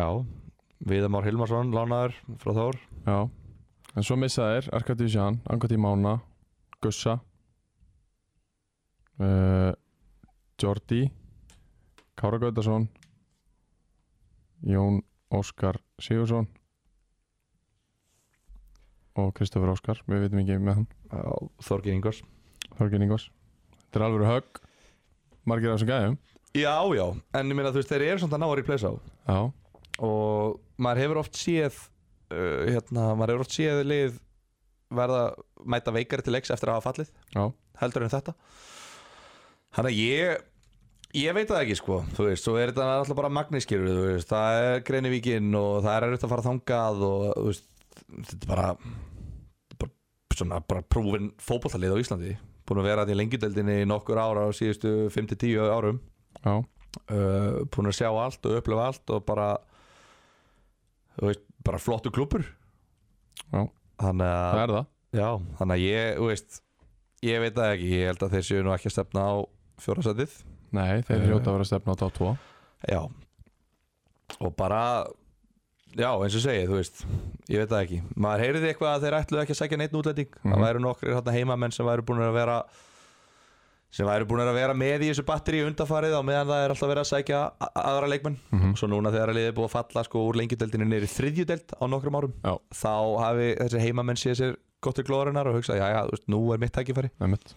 Já, Viðar Már Hilmarsson, lánaður frá Þór
Já, en svo missa þeir Arkadi Sján, Angati Mána Gussa uh, Jordi Kára Gautarsson Jón Óskar Sigursson og Kristofur Óskar við veitum ekki með hann
Já, Þorgir Ingvars
Þorgir Ingvars Þetta er alveg högg Margir af þessum gæðum
Já, já, en ég meina þú veist, þeir eru samt að ná að replacea á
Já,
Og maður hefur oft séð, uh, hérna, maður hefur oft séð lið verða mæta veikari til leiks eftir að hafa fallið
já,
Heldur en þetta Þannig að ég, ég veit það ekki sko, þú veist, svo er þetta alltaf bara magnískirur, þú veist Það er Greinivíkin og það er erfitt að fara þangað og þú veist, þetta er bara, bara svona bara prófin fótbollalið á Íslandi búin að vera þetta í lengjudeldinni í nokkur ára á síðustu 5-10 árum
já,
uh, búin að sjá allt og upplifa allt og bara þú veist, bara flottu klubur
Já.
þannig
það
að,
er það
já, þannig að ég, þú veist ég veit það ekki, ég held að þeir séu nú ekki að stefna á fjórasætið
Nei, þeir
Eh.
hljóta að vera að stefna á top 2
já og bara já, eins og segið, þú veist ég veit það ekki, maður heyriði eitthvað að þeir ætluðu ekki að segja neitt útlending,
Mhm.
það væru nokkrir hérna heimamenn sem væru búin að vera sem væru búin að vera með í þessu batteri undanfarið á meðan það er alltaf verið að sækja a- aðra leikmenn
Mhm.
svo núna þegar að liðið er búið að falla sko úr lengjudeldinu niður í þriðjudeld á nokkrum árum
Já.
þá hafi þessi heimamenn séð sér gott til glóðarinnar og hugsa, já já, þú veist, nú er mitt tækifæri
Einmitt.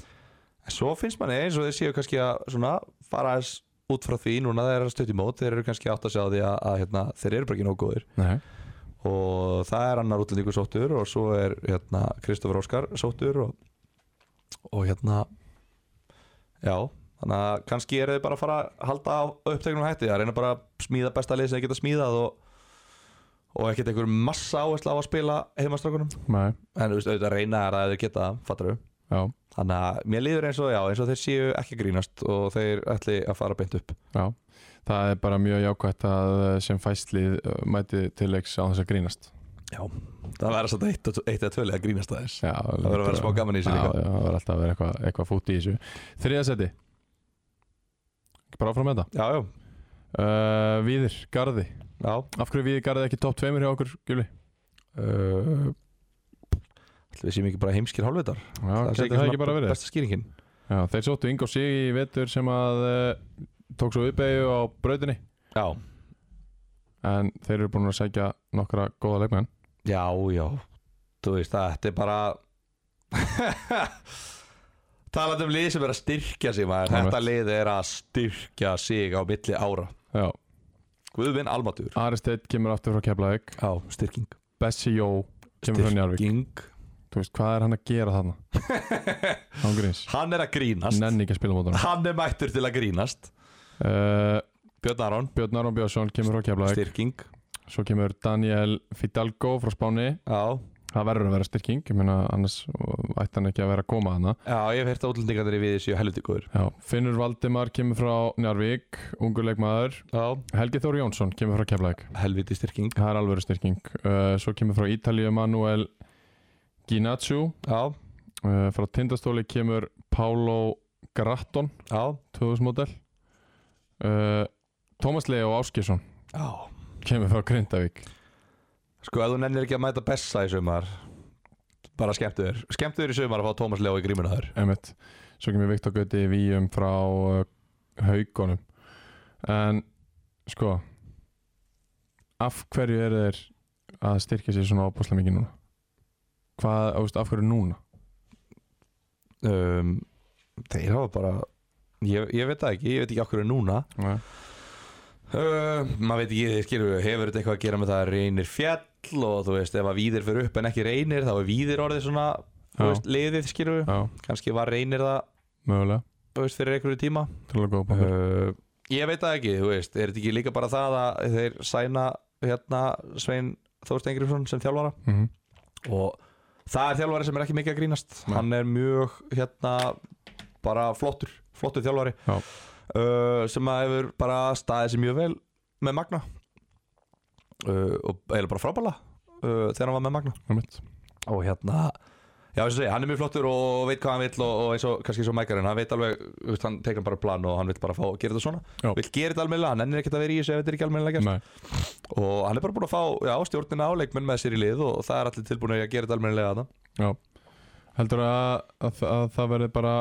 en svo finnst manni eins og þeir séu kannski að svona fara aðeins út frá því núna þeir eru að stutt í mót þeir eru kannski átt að sjá því að, að hérna, þeir eru bara ekki nógu góðir
Nei,
og það er annar útlendingur sóttur og svo er hérna Kristofur Óskar sóttur og, og hérna já, þannig að kannski eru þau bara að fara að halda á upptöknum hætti að reyna bara að smíða besta lið sem þau geta smíðað og, og ekkert einhver massa áhersla á að spila heimastrákunum
nei,
en þú veist, auðvitað reyna er að þau geta það, fattar þau
já,
þannig að mér líður eins og já, eins og þeir séu ekki að grínast og þeir ætli að fara beint upp
já Það er bara mjög jákvætt að eh, sem fæstlið eh, mæti til leiks á þess að grínast
já, það verður svolítið eitt, og- eitt eða tvölið að grínast aðeins
Já,
það verður að vera smá gaman í
Já,
sig líka
já, það verður alltaf að vera eitthvað, eitthvað fút í þessu Þriðasetti Ekki bara áfram með þetta
já, já,
uh, Víðir, Garði
já
Af hverju er Víðir Garði ekki topp tveimur hjá okkur, Gjuli?
uh, ætli við séum ekki bara heimskir hálfvitar
Já, gæti það ekki bara verið
besta skýringin
Já, þeir sóttu Ingo Sig í vetur sem að uh, tók svo uppeyju á brautinni
já,
en þeir eru búin að sækja nokkra góða leikmenn
já, já þú veist, það, þetta er bara *laughs* talandi um lið sem er að styrkja sig maður
Alveg.
þetta lið er að styrkja sig á milli ára
Já,
Guðvin Almatur
Ari Steinn kemur aftur frá Keflavík
já, styrking
Bessi Jó kemur frá Njarvík
styrking
Þú veist, hvað er hann að gera þarna? Án gríns
hann er að grínast
Nenni ekki að spila mótunum
hann er mættur til að grínast
uh,
Björn Aron,
Björn Aron Björnsson kemur frá Keflavík
styrking
Svo kemur Daniel Fidalgo frá Spáni
já,
Það verður að vera styrking Ég meina, annars ætti hann ekki að vera að koma hana
já ég hef hert að útlendingarnir í við séu helviti góður
Já, Finnur Valdimar kemur frá Njarvík Ungur leikmaður
já,
Helgi Þór Jónsson kemur frá Keflavík
helviti styrking
Það er alveg styrking uh, Svo kemur frá Ítalíu Manuel Ginaccio
já,
uh, Frá tindastóli kemur Pálo Gratton
já,
2000 model uh, Tómas Leo Áskjesson
já
kemur frá Grindavík
sko, ef þú nennir ekki að mæta Bessa í sumar bara skemmtu þér skemmtu þér í sumar að fá Tómas Leo í grímuna þar
Emmett. Svo kemur Viktor Gauti Víum frá uh, Haukonum En sko Af hverju eru þeir að styrkja sér svona ábúslega mikið núna? Hvað, þú veist, af hverju núna?
um, þeir hafa bara ég, ég veit það ekki, ég veit ekki okkur er núna
Nei.
Uh, maður veit ekki, þið skilur við, hefur þetta eitthvað að gera með það að reynir fjall og þú veist, ef að víðir fyrir upp en ekki reynir þá er víðir orðið svona, þú
Já.
veist, liðið skilur við,
Já,
kannski var reynir það,
mögulega
þú veist, fyrir einhverju tíma
Til að góða bóður
uh, ég veit það ekki, þú veist, er þetta ekki líka bara það að þeir sæna hérna Svein Þórstengriðsson sem þjálfara
mm -hmm.
og það er þjálfari sem er ekki mikið að grínast
Nei.
hann er mjög hérna bara flottur, flottur þjálfari
Já.
uh, sem að hefur bara staðið sér mjög vel með Magna uh, og eiginlega bara frábæla uh, þegar hann var með Magna og hérna Já, eins og segja, hann er mjög flottur og veit hvað hann vill og, og eins og kannski svo mækarinn, hann veit alveg þú veist, hann tekur bara plan og hann vill bara fá að gera þetta svona
Já.
vill gera þetta almennilega, hann ennir ekkert að vera í þessu ef þetta er ekki almennilega
Nei,
og hann er bara búin að fá já, stjórnina áleikmenn með sér í lið og það er allir tilbúin að gera þetta almennilega þarna
heldur að, að, að það verði bara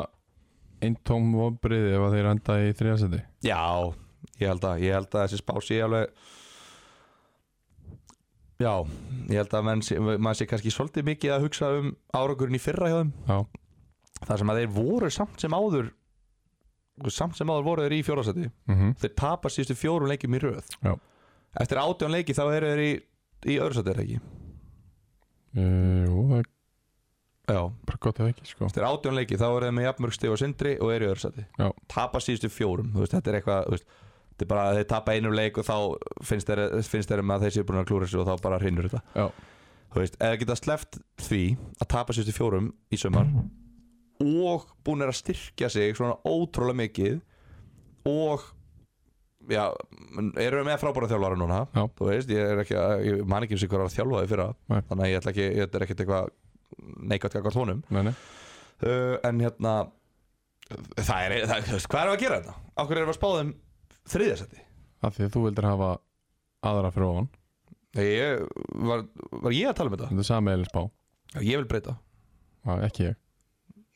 einn tóm vonbriði ef að þeir enda í þriðasendi
Já, ég held að, ég held að þessi spá sé alveg Já, ég held að menn, sé- maður sé kannski svolítið mikið að hugsa um árangurinn í fyrra hjá þeim
Já,
Það sem að þeir voru samt sem áður samt sem áður voru þeir í fjórðarsæti
mm
Þeir tapa síðustu fjórum leikjum í röð
Já.
Eftir átján leiki þá eru þeir í, í öðursæti er það ekki
Eh, jú, það er
Já,
bara gott ef ekki sko
eftir átján leiki þá eru þeir með jafnmörg stig og sindri og eru í öðursæti
Já.
Tapa síðustu fjórum, þú veist, þetta er eitthvað þú veist, Þetta er bara að þeir tapa einum leik og þá finnst þeir, finnst þeir um að þeir séu búin að klúra sig og þá bara hrinnur þetta
Já,
Þú veist, eða geta sleppt því að tapa síðustu fjórum í sömar og búin að styrkja sig svona ótrúlega mikið og já, erum við með frábæra þjálfara núna
Já.
þú veist, ég er ekki að, ég man ekki um sig hver var að þjálfa því fyrra
Nei.
þannig að ég ætla ekki, þetta er ekkert eitthvað neikvæmt kakvart honum
nei, nei
uh, en hérna það er, það, þú veist, hvað erum við að gera þetta? Okkur erum við að spá þeim þriðasetti?
Af því að þú vildir hafa aðra fyrir ofan
Ég, var, var ég að tala um þetta?
Þetta er sami eða spá,
Já, ég vil breyta
Já, ekki ég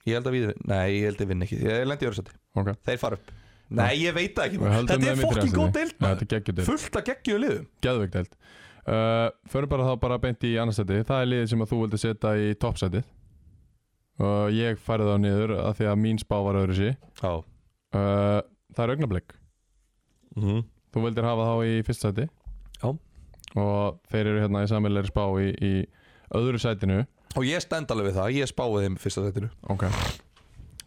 Ég held að við, nei, ég held að vinna ekki Ég lendi í öðru seti,
Ok,
þeir fara upp Nei, ég veit það ekki,
Við höldum
þetta er
þeim í
fokkin
þriðja
góð
sæti.
deild
Nei,
maður.
þetta er geggjudelt,
Fullt að geggju liðum
geðvegdelt uh, Förum bara þá bara beint í annarsæti Það er liðið sem að þú vildi setja í toppsætið og ég færði þá niður af því að mín spá var öðru sí
Já,
uh, Það er Eh, augnablik
Mhm.
Þú vildir hafa þá í fyrsta sæti
Já.
Og þeir eru hérna í sammeilari spá í, í öðru sætinu
Og ég stend alveg við það, ég spáði þeim í fyrsta setinu
Ok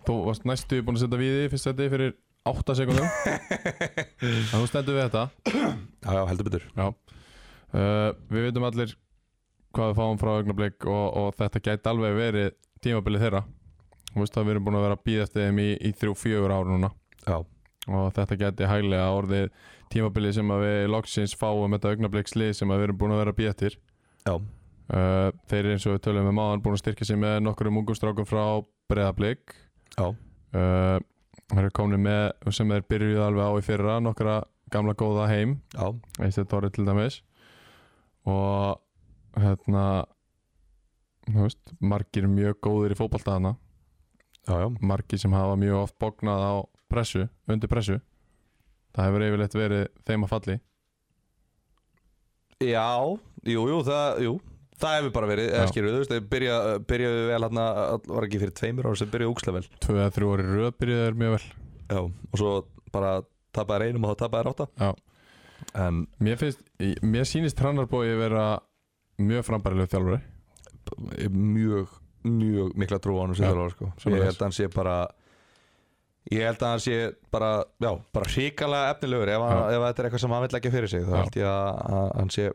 Þú varst næstu búin að setja við í fyrsta sæti fyrir 8 sekundum En þú stendur við þetta
Já, já, heldur betur
Já uh, Við veitum allir hvað við fáum frá augnablik og, og þetta gæti alveg verið tímabilið þeirra Þú veist að við erum búin að vera að býða eftir þeim í, í 3-4 ár núna
Já,
og þetta gæti hæglega orðið tímabilið sem að við loksins fáum þetta augnablikslið sem að við erum búin að vera að býða eftir
já,
uh, Þeir eru eins og við tölum með maðan búin að styrkja sig með nokkrum ungum strákum frá breðablik
já,
uh, Það eru komni með sem þeir byrjuðu alveg á í fyrra nokkra gamla góða heim
já
Eistir Tóri til dæmis og hérna þú veist, margir mjög góðir í fótballtaðana
Já, já,
margir sem hafa mjög oft bóknað á pressu, undir pressu það hefur yfirleitt verið þeim að falli
jú, jú, það, jú Það hefur bara verið, eða
Já.
skilur, þú veist, þeir byrja, byrjaðu vel hérna, var ekki fyrir tveimur ára sem byrjaðu úkslega vel
tvö eða þrjú orði röð byrjuðu þeir mjög vel
Já, og svo bara tapaði reynum og þá tapaði ráta
Já.
En
mér finnst, í- mér sýnist Trannarbói vera mjög frambærilegu þjálfari
b- mjög, mjög mikla trú á hann sem
Já,
þjálfara sko
sömuleiðis.
Ég held að hann sé bara Ég held að hann sé bara, já, bara hrikalega efnilegur ef, hann, ef þetta er eitthvað sem hann vill leggja fyrir sig þá
Já.
held ég að að hann sé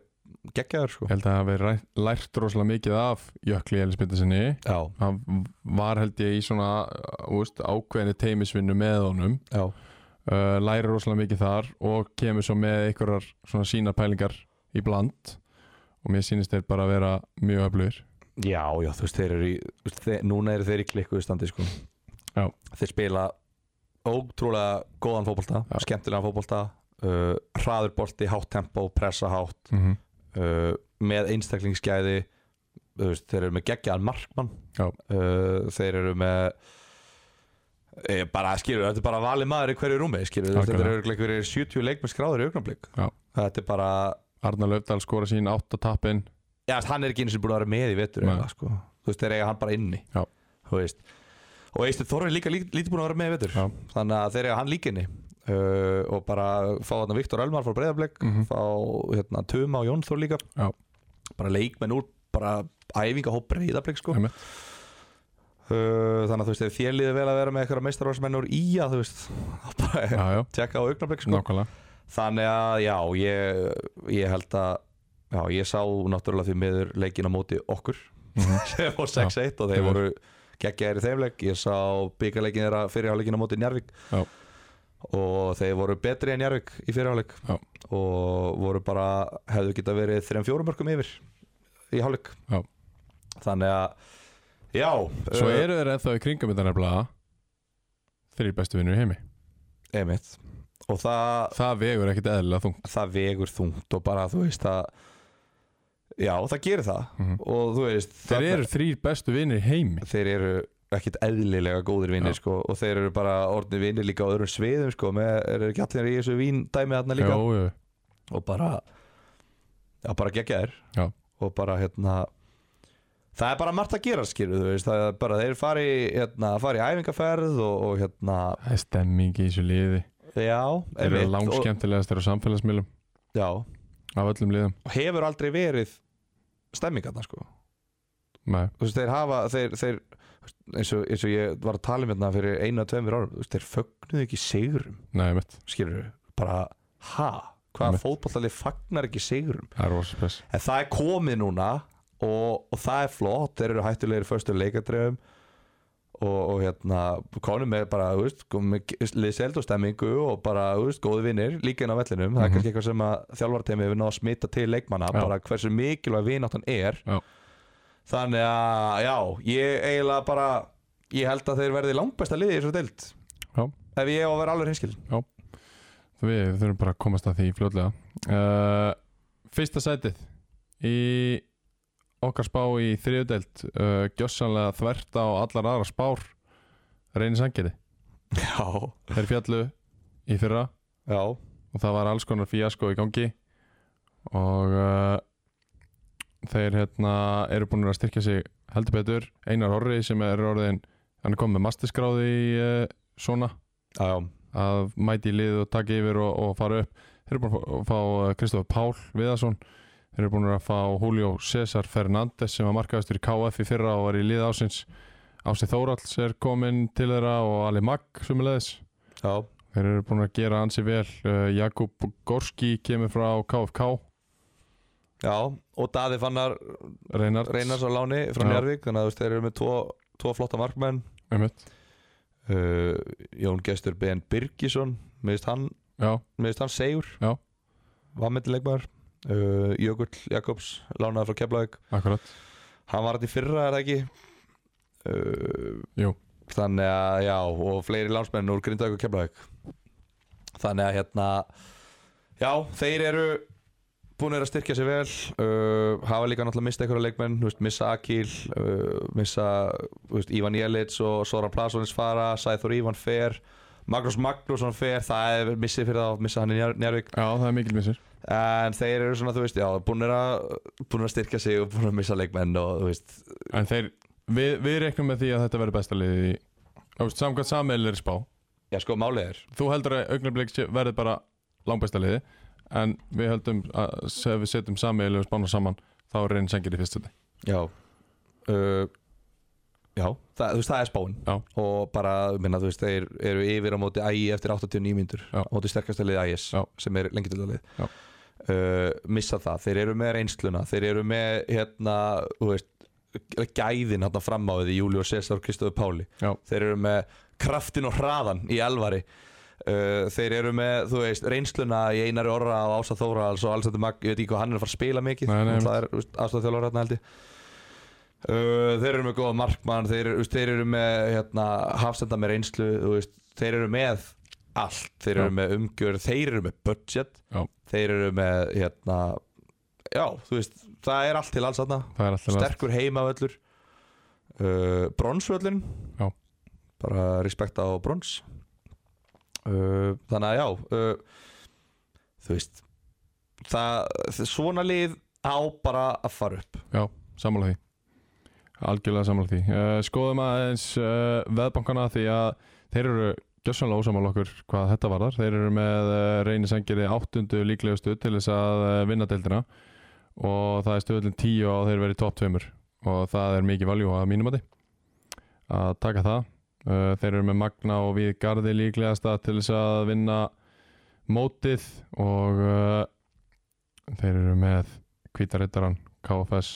geggjaður sko
ég held að hafa verið ræ- lært rosalega mikið af Jökli Elisbyndasinni
Já,
hann var held ég í svona uh, úst, ákveðinni teimisvinnu með honum
já,
uh, læri rosalega mikið þar og kemur svo með einhverjar svona sína pælingar í bland og mér sýnist þeir bara vera mjög öflugir
já, já, þú veist, þeir eru í þú veist, þeir, Núna eru þeir í klikkuðu standi sko
Já.
Þeir spila ótrúlega góðan fótbolta
Já.
skemmtilegan fótbolta uh, hraður bolti, hátt tempo, pressa hátt
mm -hmm.
uh, með einstaklingsgæði þú veist, þeir eru með geggjaðan markmann
Já.
uh, þeir eru með e, bara skilur, þetta er bara valið maður í hverju rúmi skilur, þú veist, þetta
Algjörlega.
eru örugglega einhverjir 70 leikmenn skráður í augnablik
Já.
þetta er bara,
Arnar Löfdal skora sín átta tappin
já, hann er ekki eins og búin að vera með í vetur
Nei.
eða, sko. þú veist, þeir eiga hann bara inni
Já.
þú veist og Eistur Þorri líka lít- lítið búin að vera með í vetur
Já.
þannig að þeir eiga hann líka inni uh, og bara fá þarna Viktor Elmar frá Breiðablik
Mhm.
fá hérna Tuma og Jón Þór líka
Já.
bara leikmenn úr bara æfingahóp Breiðablik sko
Einmitt.
Uh, þannig að þú veist, ef þér líður vel að vera með eitthvað meistarvarsmenn úr í að þú veist þá bara
já, já,
*laughs* tjekka á augnablik sko.
nákvæmlega
þannig að já, ég, ég held að já, ég sá náttúrulega því miður leikin á móti okkur
Mhm.
*laughs* sem voru 6-1 og þeir
Því miður.
voru geggjaðir í þeim leik ég sá byggarleikin þeirra fyrirháleikin á móti Njarvík
Já.
og þeir voru betri en Njarvík í fyrirháleik
Já.
og voru bara hefðu geta verið 3-4 mörgum yfir í háleik
Já.
þannig að já
svo
uh,
eru þeir ennþá í kringum þetta nefnilega þrýr bestu vinnur í heimi
einmitt og það
það vegur ekkit eðlilega þungt
það vegur þungt og bara þú veist að já það gerir það
Mhm.
og þú veist
þeir
þarna-
eru þrýr bestu vinnur í heimi
þeir eru ekkit eðlilega góðir vinnir
Já.
sko, og þeir eru bara orðni vinnir líka á öðrum sviðum sko, með eru ekki allir í þessu vín dæmi þarna líka
Jó, jú.
og bara já bara gegja
Já.
þér og bara hérna það er bara margt að gera skilur þú veist það er bara þeir fari, hérna, fari í æfingaferð og, og hérna
það er stemming í þessu liði
já
þeir eru
einmitt, og,
langskemmtilegast þeir eru samfélagsmiðlum
já, og
af öllum liðum
hefur aldrei verið stemmingarna sko
Nei,
þú veist, þeir hafa þeir, þeir, eins, og, eins og ég var að tala um hérna fyrir einu að tveimur árum þú veist, þeir fögnuðu ekki sigurum
nei, mitt,
skilur bara ha, hvaða
Einmitt.
fótballtalið fagnar ekki sigurum
það er rosa spes
en það er komið núna og, og það er flott, þeir eru hættulegir í föstu leikadrefum og, og hérna, konum er bara þú veist, liðseld og stemmingu og bara, þú veist, góði vinnir, líka inn á vellinum það er
Mhm.
kannski eitthvað sem að þjálfartemi hefur náð að smita til leikmanna,
Já.
bara hversu mikilvæg vináttan er
Já.
þannig að, já, ég eiginlega bara ég held að þeir verði langbesta liði í þessu deild
Já.
ef ég á að vera alveg hinskil
Við þurfum bara að komast að því fljótlega uh, Fyrsta sætið í okkar spá í þriðudelt uh, gjössanlega þvert á allar aðra spár reynir sangeti
já,
Þeir fjallu í fyrra
já,
og það var alls konar fíasko í gangi og uh, þeir hérna eru búin að styrkja sig heldur betur Einar Orri sem er orðin hann er komið með masterskráði í uh, svona
já, já,
eh, að mæti í lið og taka yfir og, og fara upp þeir eru búin að fá- fá Kristofur Pál Viðarsson þeir eru búin að fá Julio César Fernández sem var markaðastur í KF í fyrra og var í lið ásins Ási Þóralds er kominn til þeirra og Ali Mag sumulegis
Já,
þeir eru búin að gera ansi vel uh, Jakub Gorski kemur frá KFK
já og Daði Fannar
Reynards
Reynars á láni frá
Já.
Njárvík þannig að þú veist, þeir eru með tvo, tvo flotta markmenn
einmitt,
uh, Jón Gestur Ben Birgisson meðist hann,
já,
meðist hann segur
Já.
vammettilegmaður uh, Jökull Jakobs lánaði frá Keflavík
akkurat
hann var þetta í fyrra er það ekki uh,
Jú.
þannig að já og fleiri landsmenn úr Grindavík og Keflavík þannig að hérna já þeir eru búin að styrkja sér vel uh, hafa líka náttúrulega mista einhverja leikmenn þú veist, missa Akil uh, missa þú veist, Ivan Jelits og Soran Plasonins fara Sæþór Ivan fer Magnús Magnússon fer það er missið fyrir þá missa hann í Njárvík
já, það er mikil missir
en þeir eru svona þú veist já búin að, búin að styrkja sig og búin að missa leikmenn og þú veist
en þeir, við, við reknum með því að þetta verður besta liðið í þú veist, samkvæmt sammeil er spá
já sko málið er
þú heldur að augnablik sé- verði bara langbæsta liði en við höldum að ef við setjum sammeil og spána saman þá er reyn sengir í fyrstundi
Já uh, Já, það, þú veist, það er spáin
Já.
Og bara, minna, þú veist, þeir eru yfir á móti ægi eftir 89 mínútur
Já.
Á móti sterkasta liði ægis
Já.
Sem er lengi til að lið
Já.
uh, Missa það, þeir eru með reynsluna Þeir eru með, hérna, þú veist gæðin hérna fram á því Júli og César og Kristofur Páli
Já.
þeir eru með kraftin og hraðan í elvari uh, þeir eru með þú veist, reynsluna í Einari Orra og Ása Þóra og alls þetta mag, ég veit ekki hvað hann er að fara að spila mikið
Nei, nei,
það er aðstáð þjálfur hérna held ég uh, þeir eru með góða markmann þeir, þú veist, þeir eru með hérna, hafsenda með reynslu þú veist, þeir eru með allt þeir eru
Já.
með umgjörð, þeir eru með budget
Já.
þeir eru með hérna, já, þú veist, það er allt til alls þarna
það er alltaf
sterkur heimavöllur uh, bronsvöllun
Já.
bara respekta á brons uh, þannig að já uh, þú veist það, þ- svona lið á bara að fara upp
sammála því algjörlega sammála því uh, skoðum aðeins uh, veðbankana því að þeir eru gjössanlega ósamála okkur hvað þetta varðar þeir eru með uh, reyni sengiri áttundu líklegustu til þess að uh, vinna deildina og það er stöðlinn 10 og þeir verið top 2 og það er mikið valjú að mínumati að taka það uh, þeir eru með Magna og við Garði líklegasta til þess að vinna mótið og uh, þeir eru með Hvítarittaran KFS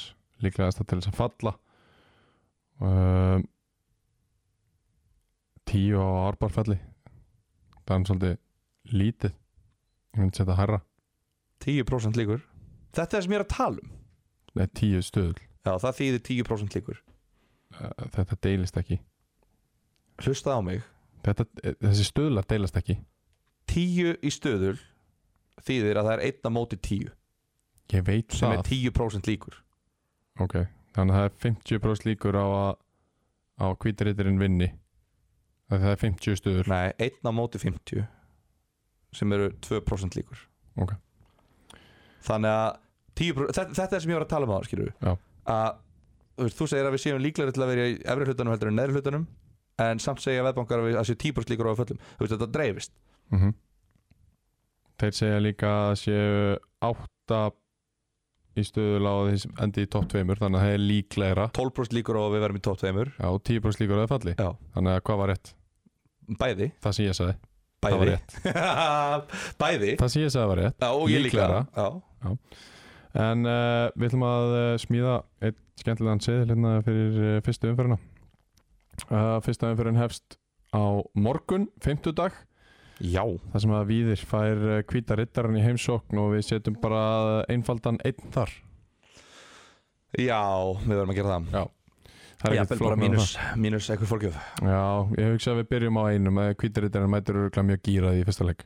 líklegast til þess að falla um, tíu á árbarfalli það er svolítið lítið ég myndi setja hærra
10% líkur þetta er það sem ég er að tala um
Nei, tíu stöðul,
já, það þýðir 10% líkur
Uh, þetta deilist ekki
hlustaði á mig
þetta, eh, þessi stöðlar deilast ekki
10 í stöðul þýðir að það er einna móti 10
ég veit
sem er
það
10% líkur
ok, þannig að það er 50% líkur á að á hvítaritturinn vinni Af því það er 50 stöður
nei, einna móti 50 sem eru 2% líkur
ok,
þannig að 10%, þetta, þetta er sem ég var að tala um á skilur
Já.
að þú, veist, þú segir að við séum líklegri til að vera í efri hlutanum heldur en neðri hlutanum en samt segja veðbankar að við að séu 10% líkur á að föllum þú veist þetta dreifist
mhm þeir segja líka að séu átta í stöðul á að því sem endi í topp tveimur þannig að það er líklegra
12% líkur á að við verum í top 2
Já, 10% líkur að það falli
Já.
Þannig að hvað var rétt?
bæði
Það sem ég sagði Það var
bæði
rétt
*laughs* bæði
Það sem ég sagði var rétt
Já, og ég líka
Líklegra.
Já.
En uh, við ætlum að uh, smíða eitt skemmtilegan seðil hérna fyrir uh, fyrstu umferðina uh, Fyrsta umferðin hefst á morgun, 50 dag
Já.
Það sem að Víðir fær uh, hvíta rittaran í heimsókn og við setjum bara uh, einfaldan einn þar
Já, við verum að gera það
Já Það er
Já,
ekkert
bara
flóknar en
mínus, mínus eitthvað fólkjöf
það. Já, ég hugsa að við byrjum á einum að hvítarittarinn mætur örgulega mjög gýrað í fyrsta leik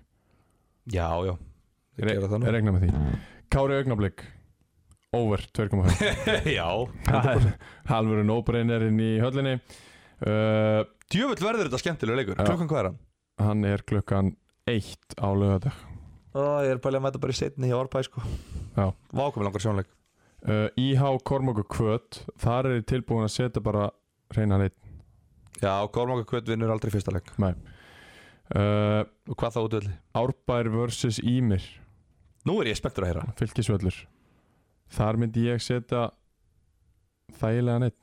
Já, já Ég gera það nú
Regna með því Kári augnablík Over 2,5
*laughs* Já
*laughs* Það er halvurinn óbreynirinn í höllinni uh,
Djöfull verður þetta skemmtilega leikur
Já.
Klukkan hvað er hann?
Hann er klukkan eitt á lögadag
Ó, ég er pælið að mæta bara í setni hjá Árbæ sko
Já.
Vákomi langar sjónleik
uh, IH Kormokur Kvöt Þar er ég tilbúin að setja bara reynan eitt
Já, Kormáka Kvöt vinnur aldrei fyrsta leik
uh,
Og hvað þá útvöldi?
Árbær vs. Ímir
Nú er ég spenntur að heyra
Fylkisvöllur Þar myndi ég setja Þægilega neitt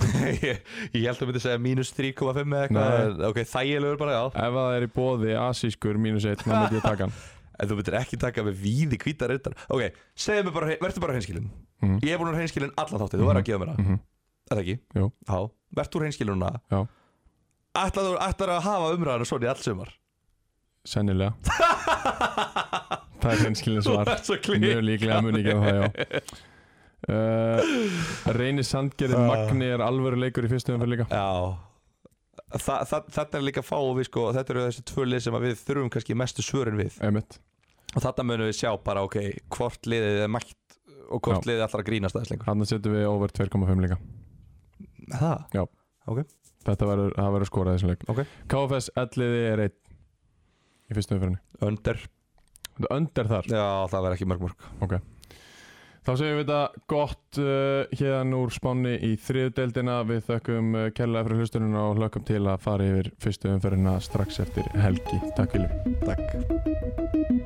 *laughs* ég, ég held að þú myndi segja mínus 3,5 eða
Nei.
eitthvað en Ok, þægilegur bara, já
Ef það er í bóði asískur mínus eitt Þá myndi ég taka hann
En þú myndir ekki taka með víði hvítar utan Ok, segðu mér bara, verður bara hreinskilin
Mhm.
Ég er búin að hreinskilin allan þáttið, þú verður að gefa mér það
Mhm.
Er það ekki?
Jú.
Já, verður hreinskilununa
Já.
Ætlar þú ætlar að hafa umræðan og svona í allt sumar *laughs*
Sennilega Það er hreinskilin
Þú
*laughs* svar
ert svo klík
Mjög líklega mun ég gera það, já uh, Reyni Sandgerði
Ah.
Magni er alvöru leikur í fyrstu umfyrir líka
Já Þa, það, þetta er líka fáum við sko Þetta eru þessi tvö lið sem að við þurfum kannski mestu svörin við
Einmitt.
Og þetta munum við sjá bara ok Hvort liðið er mætt og hvort liðið ætlar að grínast aðeins lengur
Þannig setjum við over 2,5 líka
Það?
Þetta verður, það verður skorað í þessum leik
Ok.
KFS 11 er 1 Í fyrstu umfyrinni
Önder
Þetta öndar þar
Já það verður ekki mörg mörg
Þá segjum við þetta gott uh, hérna úr spánni í þriðu deildina. Við þökkum uh, kærlega fyrir hlustununa og hlökkum til að fara yfir fyrstu umferðina strax eftir helgi. Takk fyrir.
Takk